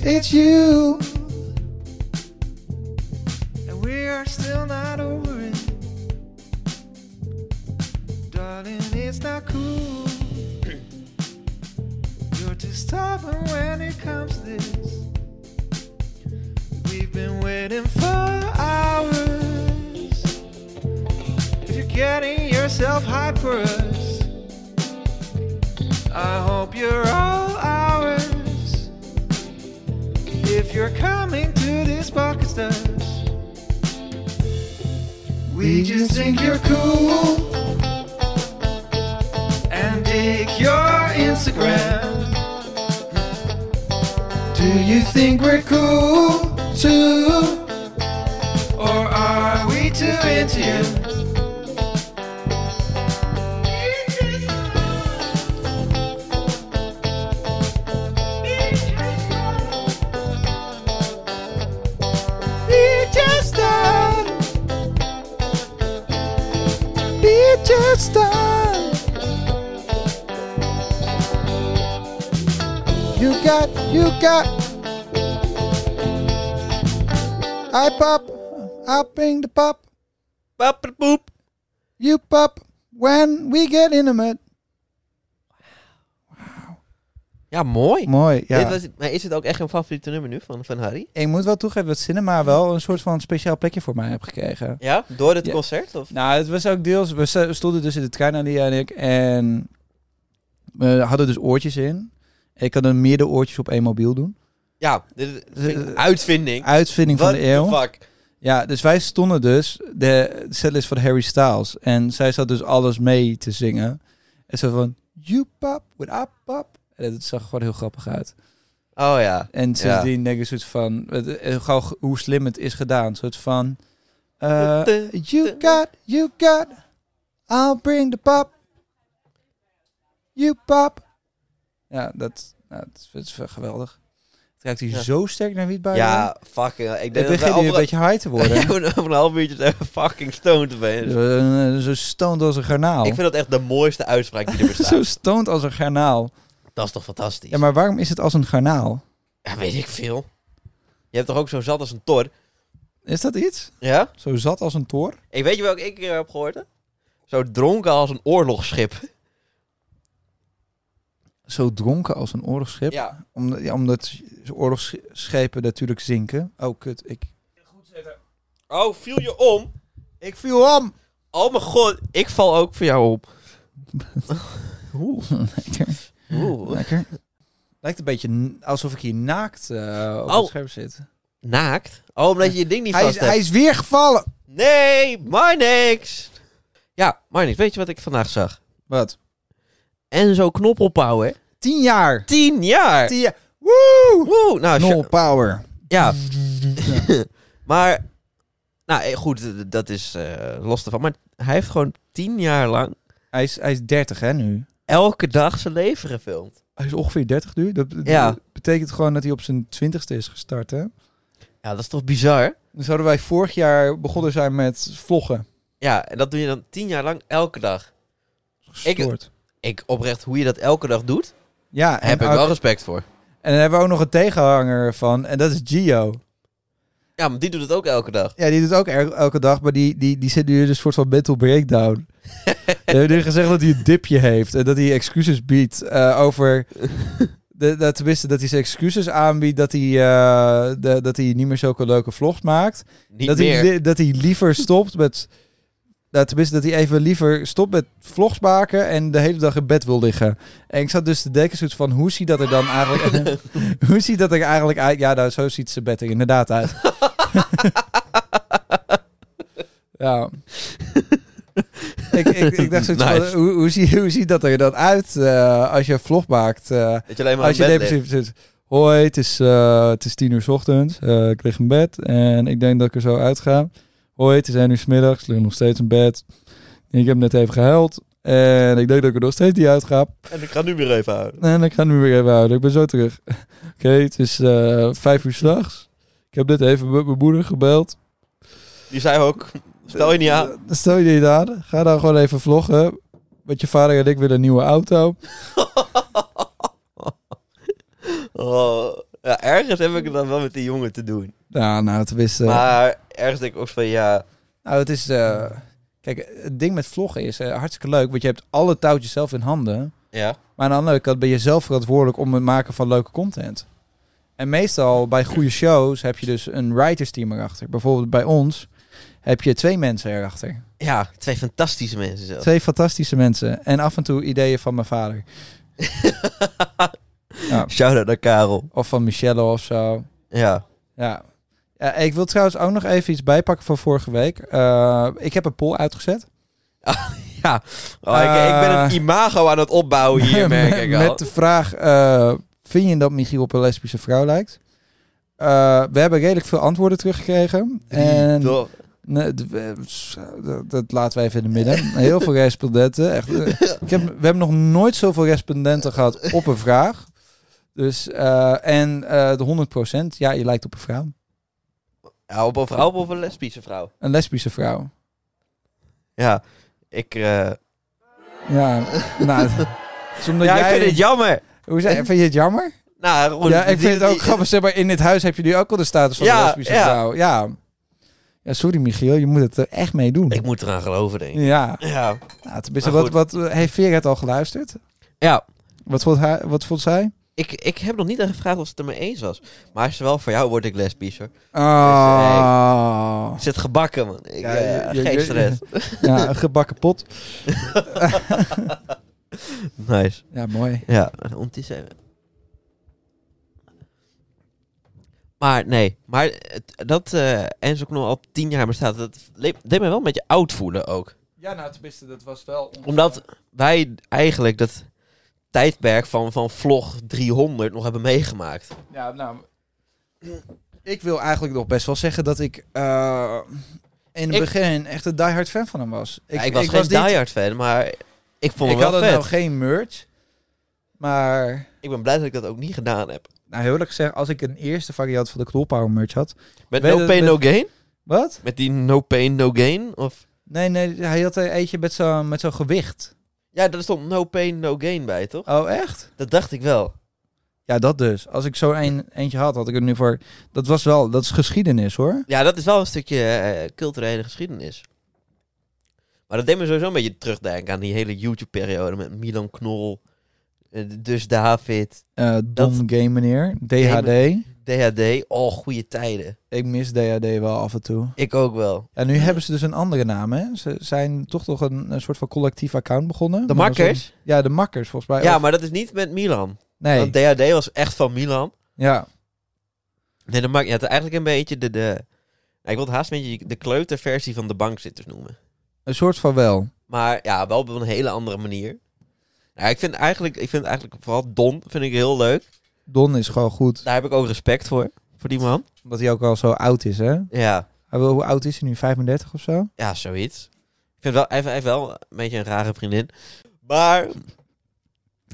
Speaker 2: It's you.
Speaker 4: And we're still not over it. Darling, it's not cool. You're too stubborn when it comes to this. We've been waiting for hours. If you're getting yourself hype for us, I hope you're all ours. If you're coming to this bucket stuff. We just think you're cool and dig your Instagram. Do you think we're cool too? Or are we too into you? We just are be just done. You got, you got. I pop, I bring the pop,
Speaker 3: Papperpoep.
Speaker 4: you pop when we get intimate.
Speaker 3: Ja, mooi.
Speaker 2: Mooi,
Speaker 3: Dit
Speaker 2: ja.
Speaker 3: was, maar is het ook echt een favoriete nummer nu van, van Harry?
Speaker 2: Ik moet wel toegeven dat Cinema wel een soort van speciaal plekje voor mij heb gekregen.
Speaker 3: Ja? Door het
Speaker 2: Ja.
Speaker 3: concert? Of?
Speaker 2: Nou, het was ook deels... We st- stonden dus in de trein, Alia en ik. En we hadden dus oortjes in. Ik kan er meerdere oortjes op één mobiel doen.
Speaker 3: Ja, Eh, dit is- vind ik een uitvinding.
Speaker 2: Uitvinding van
Speaker 3: What
Speaker 2: de
Speaker 3: the
Speaker 2: eeuw.
Speaker 3: fuck?
Speaker 2: Ja, dus wij stonden dus de setlist van Harry Styles. En zij zat dus alles mee te zingen. En zo van... You pop with I pop. En dat zag er gewoon heel grappig uit.
Speaker 3: Oh ja.
Speaker 2: En sindsdien denk ik een soort van... het- eh, Gauw g- hoe slim het is gedaan. Een soort van... eh, you got, you got... I'll bring the pop. You pop. Ja, dat, nou, het is- het is wel geweldig. Het ruikt hier
Speaker 3: Ja.
Speaker 2: zo sterk naar wiet bij. hè?
Speaker 3: Ja, fucking. hell. Ik
Speaker 2: ik
Speaker 3: denk dat
Speaker 2: begin
Speaker 3: we
Speaker 2: hier een
Speaker 3: over,
Speaker 2: beetje high te worden.
Speaker 3: Ja, we- over een half uurtje zijn we fucking stoned te zijn.
Speaker 2: Zo- Zo stoned als een garnaal.
Speaker 3: Ik vind dat echt de mooiste uitspraak die er bestaat.
Speaker 2: Zo stoned als een garnaal.
Speaker 3: Dat is toch fantastisch?
Speaker 2: Ja, maar waarom is het als een garnaal?
Speaker 3: Ja, weet ik veel. Je hebt toch ook zo zat als een tor?
Speaker 2: Is dat iets?
Speaker 3: Ja?
Speaker 2: Zo zat als een toor?
Speaker 3: Ik weet je welke ik een keer heb gehoord? hè? Zo dronken als een oorlogsschip.
Speaker 2: Zo dronken als een oorlogsschip?
Speaker 3: Ja.
Speaker 2: Om, ja, omdat oorlogsschepen natuurlijk zinken. Oh, kut. Ik...
Speaker 3: Oh, viel je om?
Speaker 2: Ik viel om!
Speaker 3: Oh mijn god, ik val ook voor jou op. Oeh.
Speaker 2: Lekker.
Speaker 3: Oeh.
Speaker 2: Lekker. Lijkt een beetje n- alsof ik hier naakt eh, op
Speaker 3: Oh.
Speaker 2: het scherm zit.
Speaker 3: Naakt? Oh, omdat je je ding niet
Speaker 2: Hij
Speaker 3: vast
Speaker 2: is,
Speaker 3: hebt.
Speaker 2: hij is weer gevallen!
Speaker 3: Nee, maar niks. Ja, maar niks. Weet je wat ik vandaag zag?
Speaker 2: Wat?
Speaker 3: Enzo Knoppelpauw, hè?
Speaker 2: Tien jaar!
Speaker 3: Tien jaar.
Speaker 2: Tien jaar! Woe!
Speaker 3: Woe, nou,
Speaker 2: Nol
Speaker 3: sha-
Speaker 2: power.
Speaker 3: ja. maar, nou eh, goed, eh, dat is eh, los ervan. Maar hij heeft gewoon tien jaar lang
Speaker 2: Hij is, hij is 30 hè nu.
Speaker 3: elke dag zijn leven gefilmd.
Speaker 2: Hij is ongeveer 30 nu. Dat dat
Speaker 3: Ja.
Speaker 2: betekent gewoon dat hij op zijn 20ste is gestart, hè?
Speaker 3: Ja, dat is toch bizar?
Speaker 2: Dan zouden wij vorig jaar begonnen zijn met vloggen.
Speaker 3: Ja, en dat doe je dan tien jaar lang elke dag.
Speaker 2: Gestoord.
Speaker 3: Ik oprecht, hoe je dat elke dag doet,
Speaker 2: ja, en,
Speaker 3: heb ik
Speaker 2: ook-
Speaker 3: wel respect voor.
Speaker 2: en dan hebben we ook nog een tegenhanger van. En dat is Gio.
Speaker 3: Ja, maar die doet het ook elke dag.
Speaker 2: Ja, die doet ook er- elke dag, maar die, die, die zit nu in een soort van mental breakdown. We hebben nu gezegd dat hij een dipje heeft en dat hij excuses biedt eh, over... De, dat, tenminste, dat hij zijn excuses aanbiedt dat hij, eh, de- dat hij niet meer zulke leuke vlogs maakt.
Speaker 3: Niet
Speaker 2: dat,
Speaker 3: meer.
Speaker 2: Hij, li- dat hij liever stopt met. Nou, tenminste, dat hij even liever stopt met vlogs maken en de hele dag in bed wil liggen. En ik zat dus te denken, soort van, hoe ziet dat er dan eigenlijk... hoe ziet dat er eigenlijk uit? Ja, nou, zo ziet ze bed er inderdaad uit. ja. ik, ik, ik dacht zoiets
Speaker 3: Nice.
Speaker 2: van, hoe, hoe, zie, hoe ziet dat er dan uit eh, als je een vlog maakt? eh,
Speaker 3: Dat je alleen maar
Speaker 2: als je
Speaker 3: aan bed ligt.
Speaker 2: depressief zit. Hoi, het is, eh, het is tien uur 's ochtends. Eh, ik lig in bed en ik denk dat ik er zo uit ga. Hoi, het is één uur 's middags. Ik lig nog steeds in bed. Ik heb net even gehuild. En ik denk dat ik er nog steeds niet uitga.
Speaker 3: En ik ga nu weer even houden.
Speaker 2: En ik ga nu weer even houden. Ik ben zo terug. Oké, het is eh, vijf uur s'nachts. Ik heb net even met mijn moeder gebeld.
Speaker 3: Die zei ook, stel je niet aan.
Speaker 2: Eh, Stel je niet aan. Ga dan gewoon even vloggen. Want je vader en ik willen een nieuwe auto.
Speaker 3: Oh. Ja, ergens heb ik het dan wel met die jongen te doen.
Speaker 2: Nou, nou, tenminste...
Speaker 3: Maar ergens denk ik ook van ja.
Speaker 2: Nou, het is... eh, kijk, het ding met vloggen is eh, hartstikke leuk. Want je hebt alle touwtjes zelf in handen.
Speaker 3: Ja.
Speaker 2: Maar aan de andere kant ben je zelf verantwoordelijk om het maken van leuke content. En meestal bij goede shows heb je dus een writers team erachter. Bijvoorbeeld bij ons heb je twee mensen erachter.
Speaker 3: Ja, twee fantastische mensen zelf.
Speaker 2: Twee fantastische mensen. En af en toe ideeën van mijn vader. Ja.
Speaker 3: Shout out naar Karel.
Speaker 2: Of van Michelle of zo.
Speaker 3: Ja.
Speaker 2: Ja. Ja, ik wil trouwens ook nog even iets bijpakken van vorige week. Eh, ik heb een poll uitgezet.
Speaker 3: Ja. Oh, ik, ik
Speaker 2: Eh.
Speaker 3: ben een imago aan het opbouwen Oh, hier, merk
Speaker 2: met,
Speaker 3: ik al.
Speaker 2: met de vraag, eh, vind je dat Michiel op een lesbische vrouw lijkt? Eh, we hebben redelijk veel antwoorden teruggekregen. en
Speaker 3: Toch?
Speaker 2: Nee, d- we- s- dat, dat laten we even in de midden. Heel veel respondenten. Echt. eh, Ik heb, we hebben nog nooit zoveel respondenten gehad op een vraag. Dus, eh, en eh, de 100%, ja, je lijkt op een vrouw.
Speaker 3: Ja, op een vrouw of een lesbische vrouw.
Speaker 2: Een lesbische vrouw.
Speaker 3: Ja. Ik, eh,
Speaker 2: Ja, nou, is omdat
Speaker 3: ja, ik
Speaker 2: jij...
Speaker 3: vind het jammer.
Speaker 2: Hoe zei, vind je het jammer?
Speaker 3: Nou, Roel,
Speaker 2: ja, ik
Speaker 3: die-
Speaker 2: vind het ook
Speaker 3: die-
Speaker 2: grappig. Zeg maar, in dit huis heb je nu ook al de status van
Speaker 3: Ja,
Speaker 2: een lesbische
Speaker 3: ja.
Speaker 2: vrouw. Ja. ja, sorry Michiel, je moet het er echt mee doen.
Speaker 3: Ik moet eraan geloven, denk ik.
Speaker 2: Ja,
Speaker 3: Ja.
Speaker 2: nou, tenminste,
Speaker 3: Maar
Speaker 2: wat, wat, heeft Veer het al geluisterd?
Speaker 3: Ja.
Speaker 2: Wat vond, haar, wat vond zij?
Speaker 3: Ik, ik heb nog niet aan gevraagd of ze het ermee eens was. Maar zowel voor jou word ik lesbisch hoor.
Speaker 2: Oh.
Speaker 3: Het zit gebakken man. Ik,
Speaker 2: Ja,
Speaker 3: eh,
Speaker 2: je- je-
Speaker 3: geen
Speaker 2: je-
Speaker 3: stress.
Speaker 2: Ja, een gebakken pot.
Speaker 3: Nice.
Speaker 2: Ja, mooi.
Speaker 3: Ja, om te zeggen. Maar nee, maar het- dat eh Enzo Knol al tien jaar bestaat, dat le- deed mij wel een beetje oud voelen ook.
Speaker 2: Ja, nou, tenminste, dat was wel...
Speaker 3: Omdat wij eigenlijk dat tijdperk van, van vlog 300 nog hebben meegemaakt.
Speaker 2: Ja, nou... Ik wil eigenlijk nog best wel zeggen dat ik... eh, in het
Speaker 3: Ik-
Speaker 2: begin echt een diehard fan van hem was.
Speaker 3: Ja, Ik, was geen
Speaker 2: niet-
Speaker 3: diehard fan, maar ik vond
Speaker 2: Ik
Speaker 3: hem
Speaker 2: had
Speaker 3: wel
Speaker 2: er
Speaker 3: vet.
Speaker 2: nou geen merch. Maar...
Speaker 3: Ik ben blij dat ik dat ook niet gedaan heb.
Speaker 2: Nou, heel eerlijk gezegd, als ik een eerste variant van de Knolpower merch had...
Speaker 3: Met
Speaker 2: Weet
Speaker 3: No
Speaker 2: het-
Speaker 3: Pain
Speaker 2: met-
Speaker 3: No Gain?
Speaker 2: Wat?
Speaker 3: Met die No Pain No Gain? Of...
Speaker 2: Nee, nee, hij had er eentje met zo'n met zo'n gewicht.
Speaker 3: Ja, daar stond No Pain No Gain bij, toch?
Speaker 2: Oh, echt?
Speaker 3: Dat dacht ik wel.
Speaker 2: Ja, dat dus. Als ik zo een, eentje had, had ik er nu voor... Dat was wel... Dat is geschiedenis, hoor.
Speaker 3: Ja, dat is wel een stukje eh, culturele geschiedenis. Maar dat deed me sowieso een beetje terugdenken aan die hele YouTube-periode met Milan Knol, eh, dus David,
Speaker 2: Eh Dom Game Meneer. DHD.
Speaker 3: DHD. Oh, goede tijden.
Speaker 2: Ik mis DHD wel af en toe.
Speaker 3: Ik ook wel.
Speaker 2: En nu hebben ze dus een andere naam, hè? Ze zijn toch nog een, een soort van collectief account begonnen.
Speaker 3: De
Speaker 2: Maar een soort-
Speaker 3: Makkers?
Speaker 2: Ja, de makkers, volgens mij.
Speaker 3: Ja,
Speaker 2: Of-
Speaker 3: maar dat is niet met Milan.
Speaker 2: nee.
Speaker 3: Want DHD was echt van Milan.
Speaker 2: ja.
Speaker 3: Nee, de Makkers. Ja, het is eigenlijk een beetje de... de nou, ik wil het haast een beetje de kleuterversie van de bankzitters noemen.
Speaker 2: Een soort van wel.
Speaker 3: Maar ja, wel op een hele andere manier. Nou, ik, vind eigenlijk, ik vind eigenlijk vooral Don vind ik heel leuk.
Speaker 2: Don is gewoon goed.
Speaker 3: Daar heb ik ook respect voor. Voor die man.
Speaker 2: Omdat hij ook al zo oud is, hè?
Speaker 3: Ja,
Speaker 2: Hij wil, hoe oud is hij nu? 35 of zo?
Speaker 3: ja zoiets. Ik vind wel, hij heeft- hij heeft wel een beetje een rare vriendin. Maar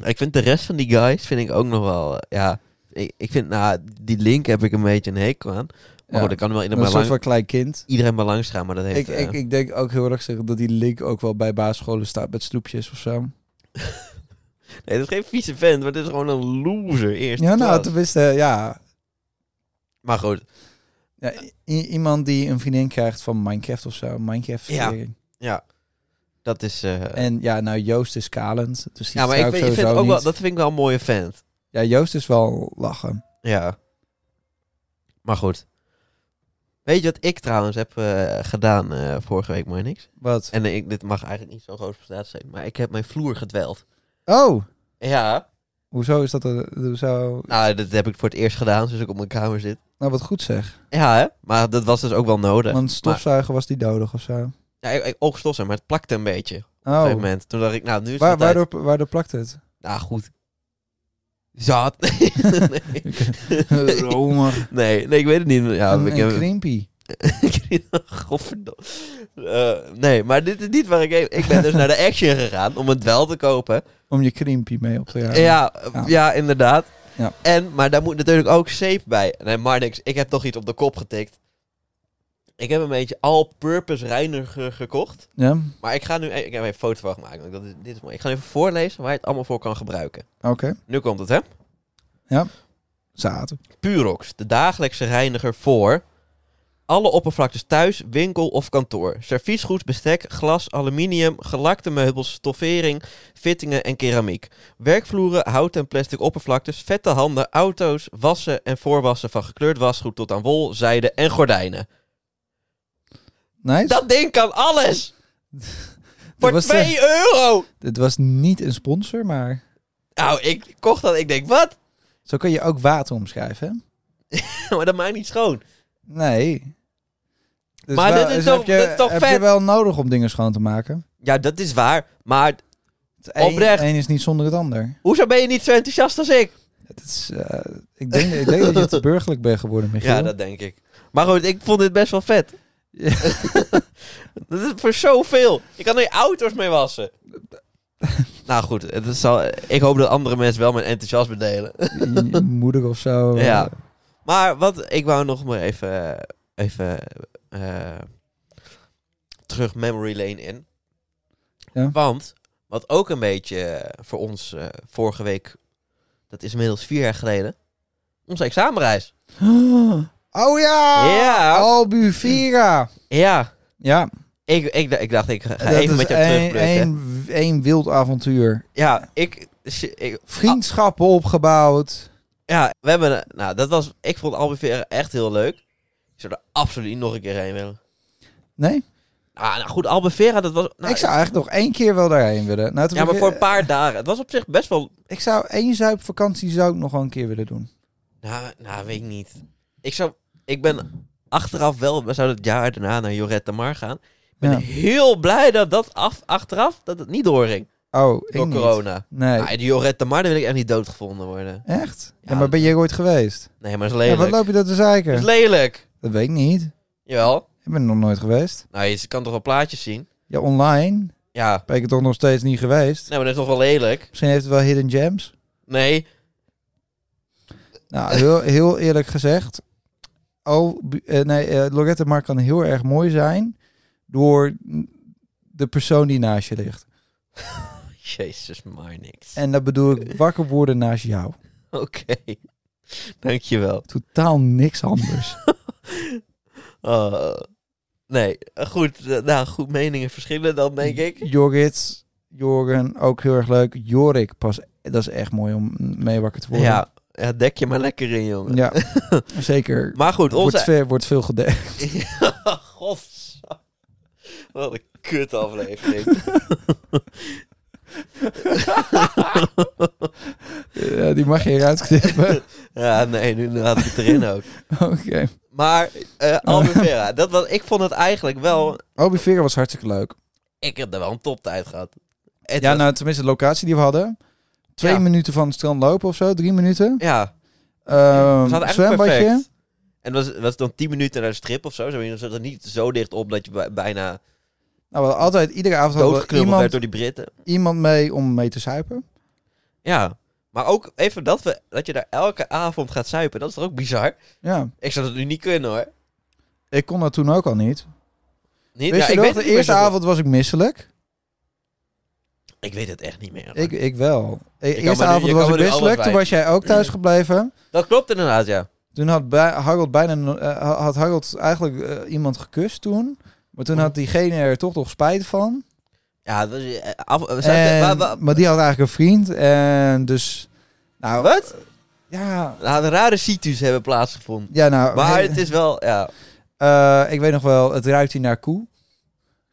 Speaker 3: ik vind de rest van die guys vind ik ook nog wel... eh, ja, ik, ik vind, nou, die link heb ik een beetje een hekel aan. Maar
Speaker 2: Ja.
Speaker 3: goed, ik kan wel
Speaker 2: Een
Speaker 3: iedereen maar
Speaker 2: soort
Speaker 3: lang,
Speaker 2: van klein kind.
Speaker 3: iedereen maar langs gaan. Maar dat heeft...
Speaker 2: Ik,
Speaker 3: eh,
Speaker 2: ik, ik denk ook heel erg zeggen dat die link ook wel bij basisscholen staat met snoepjes of zo.
Speaker 3: nee, dat is geen vieze vent, maar dit is gewoon een loser eerst.
Speaker 2: Ja, nou, tenminste, ja.
Speaker 3: Maar goed,
Speaker 2: Ja, i- iemand die een vriendin krijgt van Minecraft of zo. Minecraft.
Speaker 3: Ja.
Speaker 2: verkering.
Speaker 3: dat is... eh,
Speaker 2: En ja, nou, Joost is kalend. Dus die
Speaker 3: ja, maar ik
Speaker 2: vertrouw
Speaker 3: vind, ik
Speaker 2: sowieso
Speaker 3: vind ook wel,
Speaker 2: niet.
Speaker 3: dat vind ik wel een mooie vent.
Speaker 2: Ja, Joost is wel lachen.
Speaker 3: Ja. Maar goed. Weet je wat ik trouwens heb eh, gedaan eh, vorige week, maar niks?
Speaker 2: Wat?
Speaker 3: En eh, ik, dit mag eigenlijk niet zo'n grote prestatie zijn, maar ik heb mijn vloer gedweld.
Speaker 2: Oh!
Speaker 3: Ja.
Speaker 2: Hoezo is dat er zo...
Speaker 3: Nou, dat heb ik voor het eerst gedaan sinds ik op mijn kamer zit.
Speaker 2: Nou, wat goed zeg.
Speaker 3: Ja, hè? maar dat was dus ook wel nodig.
Speaker 2: Want stofzuigen was die nodig of zo.
Speaker 3: Ja, ik, ik oogstofzuiger, maar het plakte een beetje op een
Speaker 2: Oh,
Speaker 3: gegeven moment. Toen dacht ik, nou, nu is het
Speaker 2: Waar,
Speaker 3: wel tijd.
Speaker 2: waardoor, waardoor plakt het?
Speaker 3: Nou, goed. Zat. nee.
Speaker 2: Romig.
Speaker 3: nee, nee, ik weet het niet. Ja,
Speaker 2: een
Speaker 3: ik
Speaker 2: een
Speaker 3: heb-
Speaker 2: krimpie.
Speaker 3: Ik dacht, Godverdomme. Eh, nee, maar dit is niet waar ik heen... Ik ben dus naar de Action gegaan om het wel te kopen.
Speaker 2: Om je krimpie mee op te
Speaker 3: Ja,
Speaker 2: ruimen.
Speaker 3: ja,
Speaker 2: Ja.
Speaker 3: inderdaad.
Speaker 2: Ja.
Speaker 3: En, maar daar moet natuurlijk ook zeep bij. Nee, maar niks. Ik heb toch iets op de kop getikt. Ik heb een beetje all-purpose reiniger gekocht.
Speaker 2: Ja?
Speaker 3: Maar ik ga nu... e- Ik heb even een foto van gemaakt. want Dat is, dit is mooi. Ik ga even voorlezen waar je het allemaal voor kan gebruiken.
Speaker 2: Oké.
Speaker 3: Nu komt het, hè?
Speaker 2: Zaten.
Speaker 3: Purox, de dagelijkse reiniger voor alle oppervlaktes thuis, winkel of kantoor. Serviesgoed, bestek, glas, aluminium, gelakte meubels, stoffering, fittingen en keramiek. Werkvloeren, hout en plastic oppervlaktes, vette handen, auto's, wassen en voorwassen van gekleurd wasgoed tot aan wol, zijde en gordijnen.
Speaker 2: Nice.
Speaker 3: Dat ding kan alles! Voor
Speaker 2: was eh, de-
Speaker 3: 2 euro!
Speaker 2: Dit was niet een sponsor, maar
Speaker 3: Nou, ik kocht dat. Ik denk, wat?
Speaker 2: zo kun je ook water omschrijven. hè?
Speaker 3: maar dat maakt niet schoon.
Speaker 2: Nee. Dus
Speaker 3: Maar dit is
Speaker 2: dus
Speaker 3: toch-
Speaker 2: heb je,
Speaker 3: dit is toch
Speaker 2: heb
Speaker 3: vet?
Speaker 2: je wel nodig om dingen schoon te maken?
Speaker 3: Ja, dat is waar. Maar
Speaker 2: Het een,
Speaker 3: Oprecht.
Speaker 2: een is niet zonder het ander.
Speaker 3: hoezo ben je niet zo enthousiast als ik?
Speaker 2: Het is, eh, ik, denk, ik denk dat je te burgerlijk bent geworden, Michiel.
Speaker 3: Ja, dat denk ik. Maar goed, ik vond dit best wel vet.
Speaker 2: Ja.
Speaker 3: dat is voor zoveel. Je kan er je auto's mee wassen. nou goed, het is al, ik hoop dat andere mensen wel mijn enthousiasme delen.
Speaker 2: Je- je Moeder of zo. eh,
Speaker 3: Ja. maar wat, ik wou nog maar even, even eh, terug memory lane in.
Speaker 2: Ja.
Speaker 3: Want, wat ook een beetje eh, voor ons eh, vorige week, dat is inmiddels vier jaar geleden, onze examenreis.
Speaker 2: Oh ja!
Speaker 3: Ja.
Speaker 2: Albufira!
Speaker 3: Ja,
Speaker 2: Ja,
Speaker 3: Ik, ik, d- ik dacht, ik ga
Speaker 2: dat
Speaker 3: even
Speaker 2: is
Speaker 3: met jou
Speaker 2: een,
Speaker 3: terugblikken.
Speaker 2: een, een wild avontuur.
Speaker 3: Ja, ik, s- ik-
Speaker 2: Vriendschappen opgebouwd.
Speaker 3: ja, we hebben... eh, Nou, dat was... Ik vond Albufeira echt heel leuk. Ik zou er absoluut nog een keer heen willen.
Speaker 2: Nee?
Speaker 3: Ah, nou goed, Albufeira, dat was... Nou,
Speaker 2: ik zou eigenlijk nog één keer wel daarheen willen. Nou, toen
Speaker 3: Ja, maar
Speaker 2: ik-
Speaker 3: voor een paar dagen. Het was op zich best wel...
Speaker 2: Ik zou één zuipvakantie zou ik nog wel een keer willen doen.
Speaker 3: Nou, nou weet ik niet. Ik zou... Ik ben achteraf wel... We zouden het jaar daarna naar Joret de Mar gaan. Ik ben
Speaker 2: Ja.
Speaker 3: heel blij dat dat af, achteraf... Dat het niet doorging.
Speaker 2: Oh, ik
Speaker 3: Door
Speaker 2: niet.
Speaker 3: corona.
Speaker 2: Nee.
Speaker 3: Maar die Joret de Mar, daar wil ik echt niet doodgevonden worden.
Speaker 2: Echt? Ja,
Speaker 3: Ja,
Speaker 2: maar ben jij ooit geweest?
Speaker 3: Nee, maar dat is
Speaker 2: Ja, wat
Speaker 3: lelijk.
Speaker 2: loop je dat te
Speaker 3: dat is
Speaker 2: zeiken?
Speaker 3: lelijk.
Speaker 2: Dat weet ik niet.
Speaker 3: Jawel.
Speaker 2: Ik ben er nog nooit geweest.
Speaker 3: Nou, je kan toch wel plaatjes zien?
Speaker 2: Ja, online
Speaker 3: Ja.
Speaker 2: ben ik er toch nog steeds niet geweest.
Speaker 3: Nee, maar dat is toch wel lelijk?
Speaker 2: Misschien heeft het wel hidden gems.
Speaker 3: Nee.
Speaker 2: Nou, heel, heel eerlijk gezegd. Al, eh, nee, eh, Lorette Mar kan heel erg mooi zijn door de persoon die naast je ligt.
Speaker 3: Jezus, maar niks.
Speaker 2: En dat bedoel ik wakker worden naast jou.
Speaker 3: Oké. Dankjewel.
Speaker 2: Totaal niks anders.
Speaker 3: Oh. Nee, Eh, goed. eh, Nou, goed, meningen verschillen dan, denk ik.
Speaker 2: Jorrit, Jorgen, ook heel erg leuk. Jorik, pas, dat is echt mooi om mee wakker te worden.
Speaker 3: Ja, ja, dek je maar lekker in, jongen.
Speaker 2: ja zeker.
Speaker 3: Maar goed,
Speaker 2: Wordt,
Speaker 3: onze...
Speaker 2: veel, wordt veel gedekt.
Speaker 3: Gods. Wat een kut aflevering.
Speaker 2: Ja, die mag je eruit knippen.
Speaker 3: ja, nee, nu laat ik het erin ook.
Speaker 2: Oké.
Speaker 3: Maar, eh Albufeira, dat was, ik vond het eigenlijk wel...
Speaker 2: Albufeira was hartstikke leuk.
Speaker 3: Ik heb er wel een toptijd gehad. Het
Speaker 2: Ja,
Speaker 3: was-
Speaker 2: nou, tenminste, de locatie die we hadden. Twee
Speaker 3: Ja.
Speaker 2: minuten van het strand lopen of zo, drie minuten.
Speaker 3: ja,
Speaker 2: Ehm
Speaker 3: Het was eigenlijk
Speaker 2: zwembadje.
Speaker 3: perfect. En was, was het dan 10 minuten naar de strip of zo? Ze hebben er niet zo dicht op dat je bij- bijna
Speaker 2: Nou, we hadden altijd, iedere avond hadden we
Speaker 3: doodgeknubbeld
Speaker 2: iemand,
Speaker 3: werd door die Britten.
Speaker 2: iemand mee om mee te zuipen.
Speaker 3: Ja. Maar ook even dat, we, dat je daar elke avond gaat zuipen. Dat is toch ook bizar?
Speaker 2: Ja,
Speaker 3: Ik zou dat nu niet kunnen hoor.
Speaker 2: ik kon dat toen ook al niet.
Speaker 3: Niet?
Speaker 2: Wist
Speaker 3: Ja,
Speaker 2: je
Speaker 3: ik
Speaker 2: nog, de
Speaker 3: weet het niet meer
Speaker 2: eerste
Speaker 3: zo goed.
Speaker 2: avond was ik misselijk.
Speaker 3: Ik weet het echt niet meer.
Speaker 2: Ik, ik wel. De
Speaker 3: maar nu-
Speaker 2: eerste
Speaker 3: je
Speaker 2: avond
Speaker 3: kan
Speaker 2: was
Speaker 3: maar
Speaker 2: ik
Speaker 3: nu alles
Speaker 2: misselijk, toen
Speaker 3: wijten.
Speaker 2: was jij ook thuis gebleven.
Speaker 3: Dat klopt inderdaad, ja.
Speaker 2: Toen had bij, Harold bijna, eh, had Harold eigenlijk eh, iemand gekust toen. Maar toen had diegene er toch nog spijt van.
Speaker 3: Ja, dat is, eh, af, we zaten-
Speaker 2: En-
Speaker 3: wa- wa-
Speaker 2: maar die had eigenlijk een vriend. En dus. Nou,
Speaker 3: Wat?
Speaker 2: Ja,
Speaker 3: Nou, de rare situs hebben plaatsgevonden.
Speaker 2: ja nou.
Speaker 3: Maar
Speaker 2: he-
Speaker 3: het is wel, ja.
Speaker 2: eh, ik weet nog wel, het ruikt hier naar koe.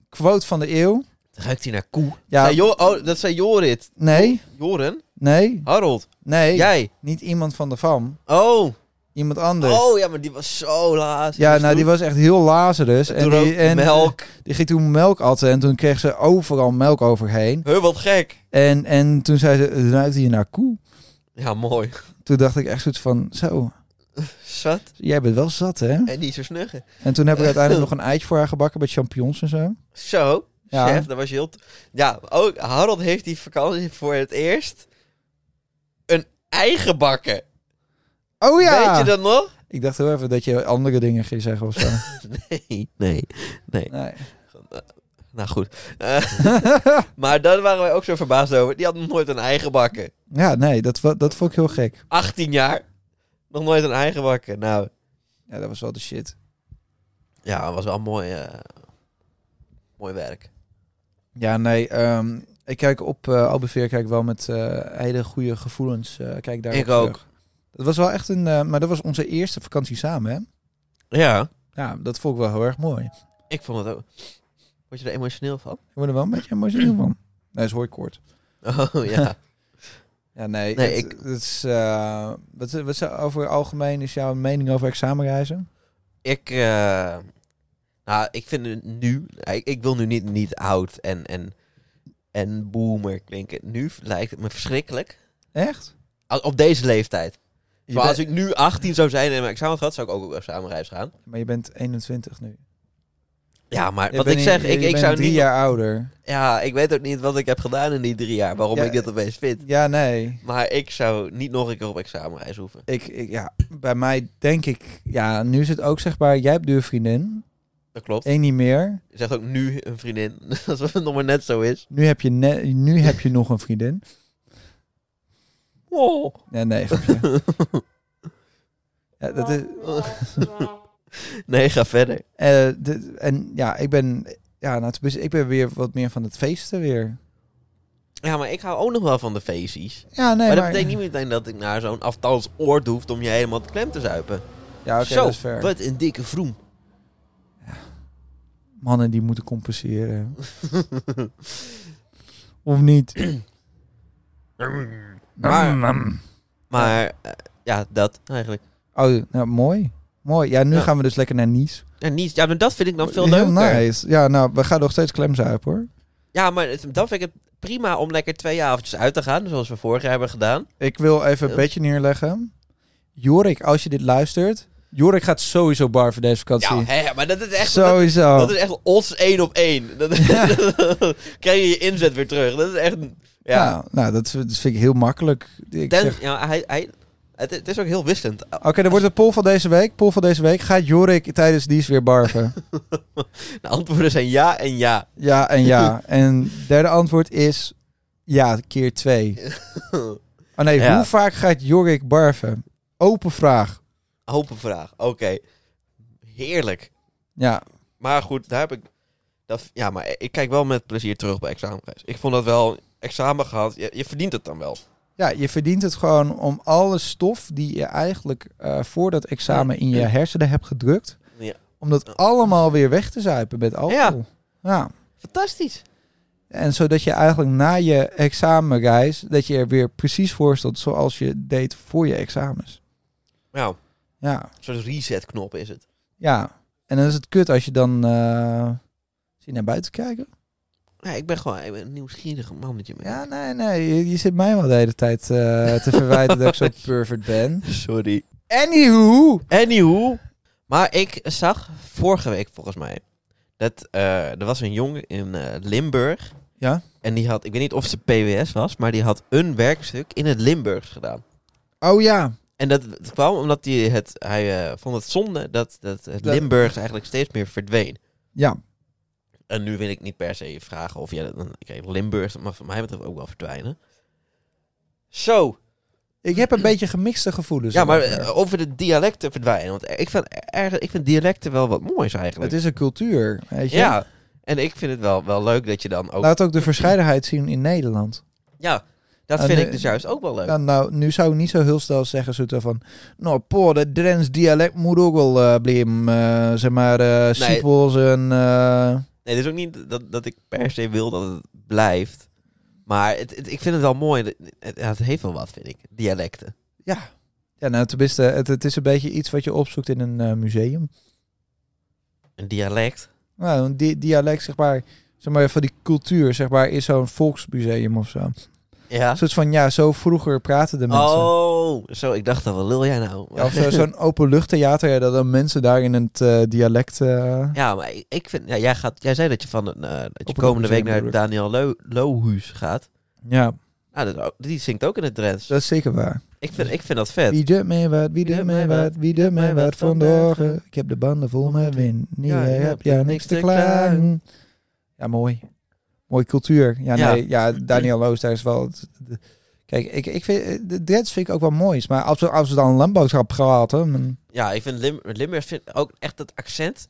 Speaker 2: Quote van de eeuw.
Speaker 3: Het Ruikt hij naar koe?
Speaker 2: Ja,
Speaker 3: Zei Jo- oh, dat zei Jorit.
Speaker 2: nee,
Speaker 3: Joren?
Speaker 2: nee,
Speaker 3: Harold?
Speaker 2: nee.
Speaker 3: Jij?
Speaker 2: Niet iemand van de fam.
Speaker 3: Oh.
Speaker 2: Iemand anders.
Speaker 3: Oh ja, maar die was zo laat.
Speaker 2: ja, nou, die was echt heel Lazarus.
Speaker 3: en
Speaker 2: En die, en
Speaker 3: melk.
Speaker 2: die ging toen melk atten. En toen kreeg ze overal melk overheen.
Speaker 3: Heel wat gek.
Speaker 2: En, en toen zei ze, het ruikt hier naar koe.
Speaker 3: Ja, mooi.
Speaker 2: Toen dacht ik echt zoiets van, zo,
Speaker 3: Zat.
Speaker 2: Jij bent wel zat, hè?
Speaker 3: En niet zo snuggen.
Speaker 2: En toen heb ik uiteindelijk nog een eitje voor haar gebakken met champignons en zo.
Speaker 3: Zo,
Speaker 2: Ja.
Speaker 3: chef, dat was je heel... t- Ja, ook Harold heeft die vakantie voor het eerst een ei gebakken.
Speaker 2: Oh ja!
Speaker 3: Weet je dat nog?
Speaker 2: Ik dacht heel even dat je andere dingen ging zeggen of zo.
Speaker 3: Nee, nee.
Speaker 2: nee.
Speaker 3: Nou goed. Eh, maar daar waren wij ook zo verbaasd over. Die had nog nooit een ei gebakken.
Speaker 2: Ja, nee, dat, wa- dat vond ik heel gek.
Speaker 3: 18 jaar. Nog nooit een ei gebakken. Nou,
Speaker 2: Ja, dat was wel de shit.
Speaker 3: ja, dat was wel mooi, eh, mooi werk.
Speaker 2: Ja, nee. ehm, ik kijk op eh Albeveer kijk wel met eh, hele goede gevoelens. eh, kijk daar
Speaker 3: Ik ook.
Speaker 2: Dat was wel echt een... eh, maar dat was onze eerste vakantie samen, hè?
Speaker 3: Ja,
Speaker 2: Ja, dat vond ik wel heel erg mooi.
Speaker 3: ik vond het ook. Word je er emotioneel van?
Speaker 2: Ik word er wel een beetje emotioneel van. Nee, is hooikoort.
Speaker 3: Oh ja.
Speaker 2: Ja, nee.
Speaker 3: Nee,
Speaker 2: het-
Speaker 3: ik-
Speaker 2: het is, eh, wat, wat is over het algemeen is jouw mening over examenreizen?
Speaker 3: ik, eh, nou, ik vind het nu, ik, ik wil nu niet, niet oud en, en, en boomer klinken. Nu lijkt het me verschrikkelijk.
Speaker 2: Echt?
Speaker 3: Als- Op deze leeftijd.
Speaker 2: Je
Speaker 3: Maar als
Speaker 2: bent-
Speaker 3: ik nu 18 zou zijn en mijn examen had gehad, zou ik ook op examenreis gaan.
Speaker 2: Maar je bent 21 nu.
Speaker 3: Ja, maar
Speaker 2: Je
Speaker 3: wat
Speaker 2: bent
Speaker 3: ik
Speaker 2: in-
Speaker 3: zeg,
Speaker 2: je
Speaker 3: ik, ik
Speaker 2: bent
Speaker 3: zou
Speaker 2: drie
Speaker 3: niet...
Speaker 2: jaar ouder.
Speaker 3: Ja, ik weet ook niet wat ik heb gedaan in die drie jaar, waarom
Speaker 2: Ja,
Speaker 3: ik dit opeens vind.
Speaker 2: Ja, nee.
Speaker 3: Maar ik zou niet nog een keer op examenreis hoeven.
Speaker 2: Ik, ik, ja, bij mij denk ik... Ja, nu is het ook zegbaar... Jij hebt nu een vriendin.
Speaker 3: Dat klopt.
Speaker 2: Eén niet meer.
Speaker 3: Je zegt ook nu een vriendin, alsof het nog maar net zo is.
Speaker 2: Nu heb je, ne- nu heb je nog een vriendin.
Speaker 3: Oh.
Speaker 2: Nee, nee, grapje. Ja, dat is,
Speaker 3: Nee, ga verder.
Speaker 2: Eh, de- en ja, ik ben, ja, nou, tenminste, ik ben weer wat meer van het feesten weer.
Speaker 3: Ja, maar ik hou ook nog wel van de feestjes.
Speaker 2: Ja, nee,
Speaker 3: maar
Speaker 2: maar...
Speaker 3: dat betekent niet meteen dat ik naar zo'n aftals oord hoef om je helemaal te klem te zuipen.
Speaker 2: Ja, oké,
Speaker 3: zo,
Speaker 2: dat is ver.
Speaker 3: wat een dikke vroem.
Speaker 2: Mannen die moeten compenseren. of niet.
Speaker 3: Maar, maar eh, ja, dat eigenlijk.
Speaker 2: Oh, nou, mooi. Mooi. Ja, nu
Speaker 3: Ja.
Speaker 2: gaan we dus lekker naar Nice.
Speaker 3: Ja, niet, ja, maar dat vind ik dan veel
Speaker 2: Heel
Speaker 3: leuker.
Speaker 2: nice. Ja, nou, we gaan nog steeds klemzuipen hoor.
Speaker 3: Ja, maar het- dan vind ik het prima om lekker twee avondjes uit te gaan, zoals we vorig jaar hebben gedaan.
Speaker 2: Ik wil even een
Speaker 3: Ja.
Speaker 2: bedje neerleggen. Jorik, als je dit luistert. Jorik gaat sowieso bar voor deze vakantie.
Speaker 3: Ja, hè, maar dat is echt... Dat,
Speaker 2: sowieso.
Speaker 3: dat is echt odds één op één. Dat, krijg je je inzet weer terug. Dat is echt... een-
Speaker 2: ja.
Speaker 3: Ja,
Speaker 2: nou, dat, dat vind ik heel makkelijk. Ik
Speaker 3: Ten-
Speaker 2: zeg-
Speaker 3: ja hij, hij, het, het is ook heel wisselend.
Speaker 2: Oké, dan wordt de poll van deze week. Poll van deze week. Gaat Jorik tijdens dies weer barven?
Speaker 3: De antwoorden zijn ja en ja.
Speaker 2: ja en ja. En derde antwoord is ja, keer twee. Oh nee,
Speaker 3: Ja.
Speaker 2: hoe vaak gaat Jorik barven? Open vraag.
Speaker 3: Open vraag. Oké. Heerlijk.
Speaker 2: Ja,
Speaker 3: Maar goed, daar heb ik. Dat, ja, maar ik kijk wel met plezier terug bij examenreis. Ik vond dat wel. Examen gehad, je, je verdient het dan wel.
Speaker 2: ja, je verdient het gewoon om alle stof die je eigenlijk eh, voor dat examen in je hersenen hebt gedrukt,
Speaker 3: Ja.
Speaker 2: om dat allemaal weer weg te zuipen met alcohol. ja.
Speaker 3: Fantastisch.
Speaker 2: En zodat je eigenlijk na je examenreis, dat je er weer precies voor stond zoals je deed voor je examens.
Speaker 3: Nou,
Speaker 2: Ja.
Speaker 3: een soort resetknop is het.
Speaker 2: Ja, en dan is het kut als je dan... eh zie je naar buiten kijken?
Speaker 3: Ja, ik ben gewoon ik ben een nieuwsgierig mannetje. man.
Speaker 2: Ja, nee, nee. Je, je zit mij wel de hele tijd eh, te verwijten dat ik zo perfect ben.
Speaker 3: Sorry.
Speaker 2: Anywho!
Speaker 3: Anywho. Maar ik zag vorige week volgens mij. Dat eh, er was een jongen in eh, Limburg.
Speaker 2: Ja?
Speaker 3: En die had, ik weet niet of ze PWS was, maar die had een werkstuk in het Limburgs gedaan.
Speaker 2: Oh ja.
Speaker 3: En dat dat kwam omdat hij het, hij eh, vond het zonde dat, dat het
Speaker 2: Dat-
Speaker 3: Limburgs eigenlijk steeds meer verdween.
Speaker 2: Ja.
Speaker 3: En nu wil ik niet per se vragen of jij... dan- Kijk, Limburg, dat mag van mij betreft ook wel verdwijnen. Zo.
Speaker 2: Ik heb een beetje gemixte gevoelens.
Speaker 3: Ja, maar
Speaker 2: erover.
Speaker 3: eh, over de dialecten verdwijnen. Want eh, ik vind, erg- ik vind dialecten wel wat moois
Speaker 2: het
Speaker 3: eigenlijk.
Speaker 2: is Nou, een cultuur, weet je.
Speaker 3: ja. En ik vind het wel, wel leuk dat je dan ook...
Speaker 2: Laat ook de verscheidenheid zien in Nederland.
Speaker 3: ja, dat
Speaker 2: En
Speaker 3: vind
Speaker 2: de-
Speaker 3: ik dus juist ook wel leuk.
Speaker 2: Nou, nou, nu zou ik niet zo heel snel zeggen zo van... Nou, poor, dat Drents dialect moet ook wel eh blijven. eh, zeg maar, eh sequels en... eh,
Speaker 3: Nee, het is ook niet dat, dat ik per se wil dat het blijft. Maar het, het- ik vind het wel mooi. Het, het- het heeft wel wat, vind ik. Dialecten.
Speaker 2: Ja, nou, tenminste, het, het is een beetje iets wat je opzoekt in een eh, museum.
Speaker 3: Een dialect.
Speaker 2: Nou, een di- dialect, zeg maar, zeg maar, van die cultuur, zeg maar, is zo'n volksmuseum of zo.
Speaker 3: Ja.
Speaker 2: Een soort van, ja, zo vroeger praten de mensen.
Speaker 3: Oh, zo, ik dacht al, wat lul jij nou?
Speaker 2: Ja, of zo- zo'n openluchttheater, ja, dat dan mensen daar in het eh, dialect... eh,
Speaker 3: Ja, maar ik- ik vind, ja, jij, gaat, jij zei dat je, van, een, eh, dat je
Speaker 2: een
Speaker 3: komende week
Speaker 2: museum
Speaker 3: naar
Speaker 2: bedoel ik.
Speaker 3: Daniel Lo- Lohuus gaat.
Speaker 2: ja,
Speaker 3: Nou, dat is ook- die zingt ook in het Drents.
Speaker 2: dat is zeker waar.
Speaker 3: Ik vind, ik vind dat vet.
Speaker 2: Wie de mij wat, wie de mij wat, wie de mij wat vandaag. Ik heb de banden vol met wind. Nee,
Speaker 3: Ja, je
Speaker 2: heb
Speaker 3: hebt
Speaker 2: ja niks te klagen. Ja, mooi. Mooi cultuur. Ja,
Speaker 3: Ja.
Speaker 2: nee, ja Daniel Loos, daar is wel... het- de- Kijk, ik, ik vind, eh, de dreads vind ik ook wel moois. Maar als we, als we dan landbouwschap praten... dan-
Speaker 3: Ja, ik vind Lim, Limburg vind, ook echt dat accent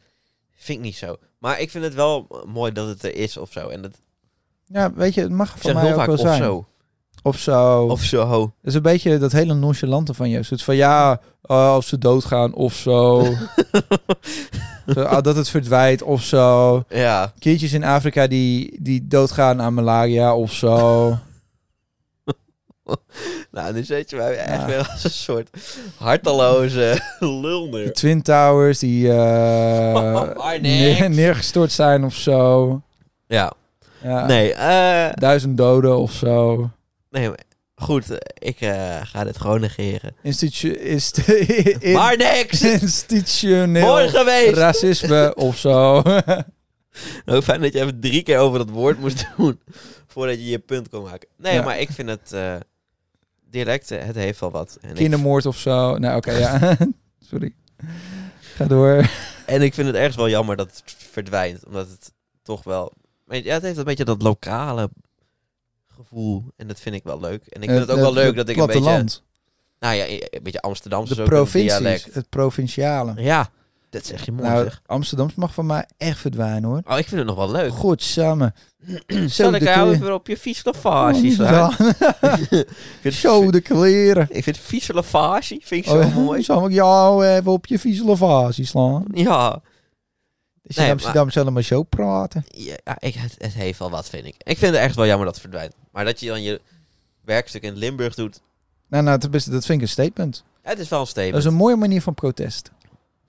Speaker 3: vind ik niet zo. Maar ik vind het wel mooi dat het er is of zo. En dat
Speaker 2: Ja, weet je, het mag
Speaker 3: ik
Speaker 2: voor
Speaker 3: zeg
Speaker 2: mij
Speaker 3: heel
Speaker 2: ook
Speaker 3: vaak
Speaker 2: wel
Speaker 3: of
Speaker 2: zijn.
Speaker 3: zo.
Speaker 2: Of zo.
Speaker 3: Of zo.
Speaker 2: Dat is een beetje dat hele nonchalante van je. Zoiets van, ja, eh, als ze doodgaan of zo. Zo, ah, dat het verdwijnt of zo.
Speaker 3: Ja.
Speaker 2: Kindjes in Afrika die, die doodgaan aan malaria of zo.
Speaker 3: Nou, nu zet je mij echt
Speaker 2: Ja.
Speaker 3: weer als een soort harteloze
Speaker 2: De
Speaker 3: lulner.
Speaker 2: Twin Towers die eh,
Speaker 3: Maar niks.
Speaker 2: neer- neergestort zijn of zo.
Speaker 3: Ja.
Speaker 2: Ja,
Speaker 3: Nee, eh,
Speaker 2: Duizend doden of zo.
Speaker 3: nee maar goed. eh, Ik eh, ga dit gewoon negeren.
Speaker 2: Institu is in-
Speaker 3: Maar niks! Mooi
Speaker 2: institutioneel
Speaker 3: geweest!
Speaker 2: racisme of zo.
Speaker 3: Heel fijn dat je even drie keer over dat woord moest doen. Voordat je je punt kon maken. Nee,
Speaker 2: Ja.
Speaker 3: maar ik vind het... eh dialect, eh, het heeft wel wat. En ik,
Speaker 2: Kindermoord of zo. Nou, oké, ja. Sorry. Ga door.
Speaker 3: en ik vind het ergens wel jammer dat het verdwijnt. Omdat het toch wel... maar Ja, het heeft een beetje dat lokale gevoel. En dat vind ik wel leuk. En ik vind het ook wel leuk dat ik een beetje...
Speaker 2: Eh, platteland,
Speaker 3: Nou ja, een beetje Amsterdamse
Speaker 2: de
Speaker 3: is ook een
Speaker 2: provincies,
Speaker 3: dialect.
Speaker 2: het provinciale.
Speaker 3: Ja, dat zeg je mooi
Speaker 2: Nou,
Speaker 3: zeg.
Speaker 2: Amsterdams mag van mij echt verdwijnen hoor.
Speaker 3: Oh, ik vind het nog wel leuk.
Speaker 2: Godsamme.
Speaker 3: Zal
Speaker 2: Zo de
Speaker 3: ik jou
Speaker 2: kleren.
Speaker 3: even op je vieslavage slaan? Ik
Speaker 2: Oh,
Speaker 3: vind-
Speaker 2: Zo de kleren.
Speaker 3: Ik vind vieslavage, vind ik zo
Speaker 2: Oh, ja.
Speaker 3: mooi.
Speaker 2: Zal ik jou even op je vieze lavasie slaan?
Speaker 3: Ja,
Speaker 2: Dus
Speaker 3: Nee,
Speaker 2: in Amsterdam zullen we zo praten.
Speaker 3: ja ik, het, het heeft wel wat, vind ik. Ik vind het echt wel jammer dat het verdwijnt. Maar dat je dan je werkstuk in Limburg doet,
Speaker 2: Nou, nou dat, is, dat vind ik een statement.
Speaker 3: het is wel een
Speaker 2: Dat
Speaker 3: statement.
Speaker 2: is een mooie manier van protest.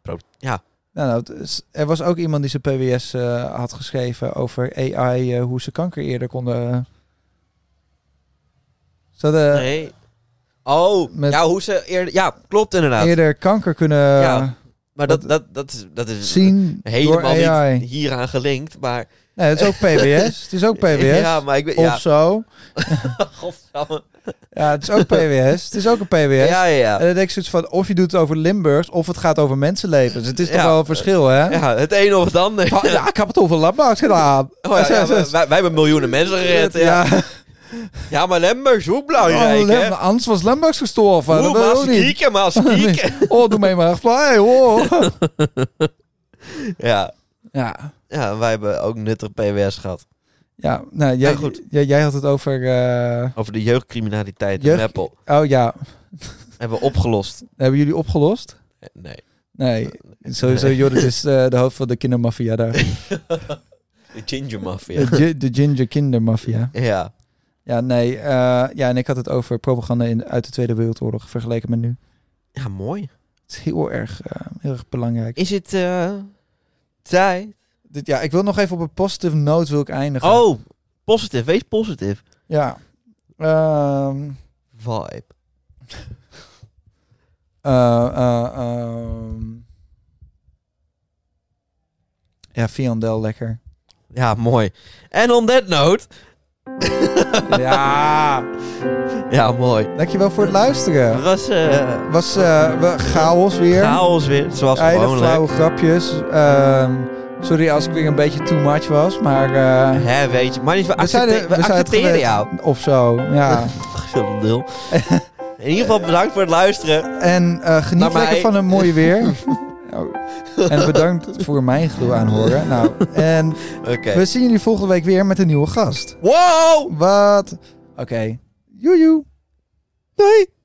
Speaker 3: Pro- ja.
Speaker 2: Nou, nou, het is- er was ook iemand die zijn PWS eh, had geschreven over AI, eh, hoe ze kanker eerder konden... eh, Ze hadden-
Speaker 3: Nee. Oh,
Speaker 2: eh, Met-
Speaker 3: ja, hoe ze eerder... Ja, klopt inderdaad.
Speaker 2: eerder kanker kunnen
Speaker 3: Ja, maar dat,
Speaker 2: dat-
Speaker 3: dat, dat, is, dat is
Speaker 2: zien door
Speaker 3: helemaal
Speaker 2: AI.
Speaker 3: niet hieraan gelinkt, maar...
Speaker 2: Nee, het is ook PWS. het is ook PWS.
Speaker 3: Ja, maar ik ben... Ja,
Speaker 2: Of zo.
Speaker 3: godsamme.
Speaker 2: Ja, het is ook PWS. het is ook een PWS.
Speaker 3: Ja, ja, ja.
Speaker 2: En dan denk ik zoiets van, of je doet het over Limburgs, of het gaat over mensenlevens. Het is toch
Speaker 3: Ja.
Speaker 2: wel een verschil, hè? Ja.
Speaker 3: Ja, het een of het ander.
Speaker 2: ja, ik heb het over Limburgs gedaan.
Speaker 3: Oh, ja, ja, wij, wij hebben miljoenen mensen gered. Ja,
Speaker 2: Ja.
Speaker 3: ja maar Lemberg is ook
Speaker 2: Oh,
Speaker 3: belangrijk, hè?
Speaker 2: Lim- anders was Limburgs gestorven.
Speaker 3: Oeh,
Speaker 2: dat
Speaker 3: maar
Speaker 2: wil ik ook niet.
Speaker 3: skieken, maar skieken.
Speaker 2: Oh, doe mij maar fly, hoor.
Speaker 3: ja.
Speaker 2: ja.
Speaker 3: ja, wij hebben ook nuttig PWS gehad.
Speaker 2: Ja, nou, jij,
Speaker 3: Ja, goed.
Speaker 2: jij, jij had het over... eh,
Speaker 3: Over de jeugdcriminaliteit in
Speaker 2: Jeugd-
Speaker 3: Meppel.
Speaker 2: Oh ja,
Speaker 3: Hebben we opgelost.
Speaker 2: hebben jullie opgelost?
Speaker 3: Eh, Nee.
Speaker 2: Nee, sowieso Jorrit is eh, de hoofd van de kindermafia daar.
Speaker 3: De Ginger Mafia.
Speaker 2: De, gi- de ginger kindermafia.
Speaker 3: ja.
Speaker 2: Ja, nee. eh, ja, en ik had het over propaganda in, uit de Tweede Wereldoorlog vergeleken met nu.
Speaker 3: Ja, mooi.
Speaker 2: Het is heel erg, eh, heel erg belangrijk.
Speaker 3: Is het eh tijd?
Speaker 2: Dit, ja, ik wil nog even op een positieve note wil ik eindigen.
Speaker 3: Oh, positief. Wees positief.
Speaker 2: Ja. Ehm,
Speaker 3: Vibe.
Speaker 2: eh, eh, ehm. Ja, Viandel lekker.
Speaker 3: Ja, mooi. En on that note...
Speaker 2: ja.
Speaker 3: Ja, mooi.
Speaker 2: Dankjewel voor het
Speaker 3: Het
Speaker 2: luisteren.
Speaker 3: was eh
Speaker 2: Was eh, we- chaos weer.
Speaker 3: chaos weer, zoals
Speaker 2: Hele
Speaker 3: gewoonlijk.
Speaker 2: flauwe grapjes. Ehm, sorry als ik weer een beetje too much was, maar... eh,
Speaker 3: Hè, weet je. Maar niet, we,
Speaker 2: We zijn
Speaker 3: accepte-
Speaker 2: er-
Speaker 3: we
Speaker 2: we zijn het
Speaker 3: accepteren
Speaker 2: gewend.
Speaker 3: jou.
Speaker 2: Of zo, ja.
Speaker 3: Ach, zo'n lul. In ieder geval bedankt voor het luisteren.
Speaker 2: En eh,
Speaker 3: Naar
Speaker 2: geniet
Speaker 3: mij.
Speaker 2: lekker van een mooie weer. Oh. En bedankt voor mijn gedoe aanhoren. Nou, en
Speaker 3: Oké.
Speaker 2: we zien jullie volgende week weer met een nieuwe gast.
Speaker 3: Wow!
Speaker 2: Wat? Oké. Joejoe. Doei.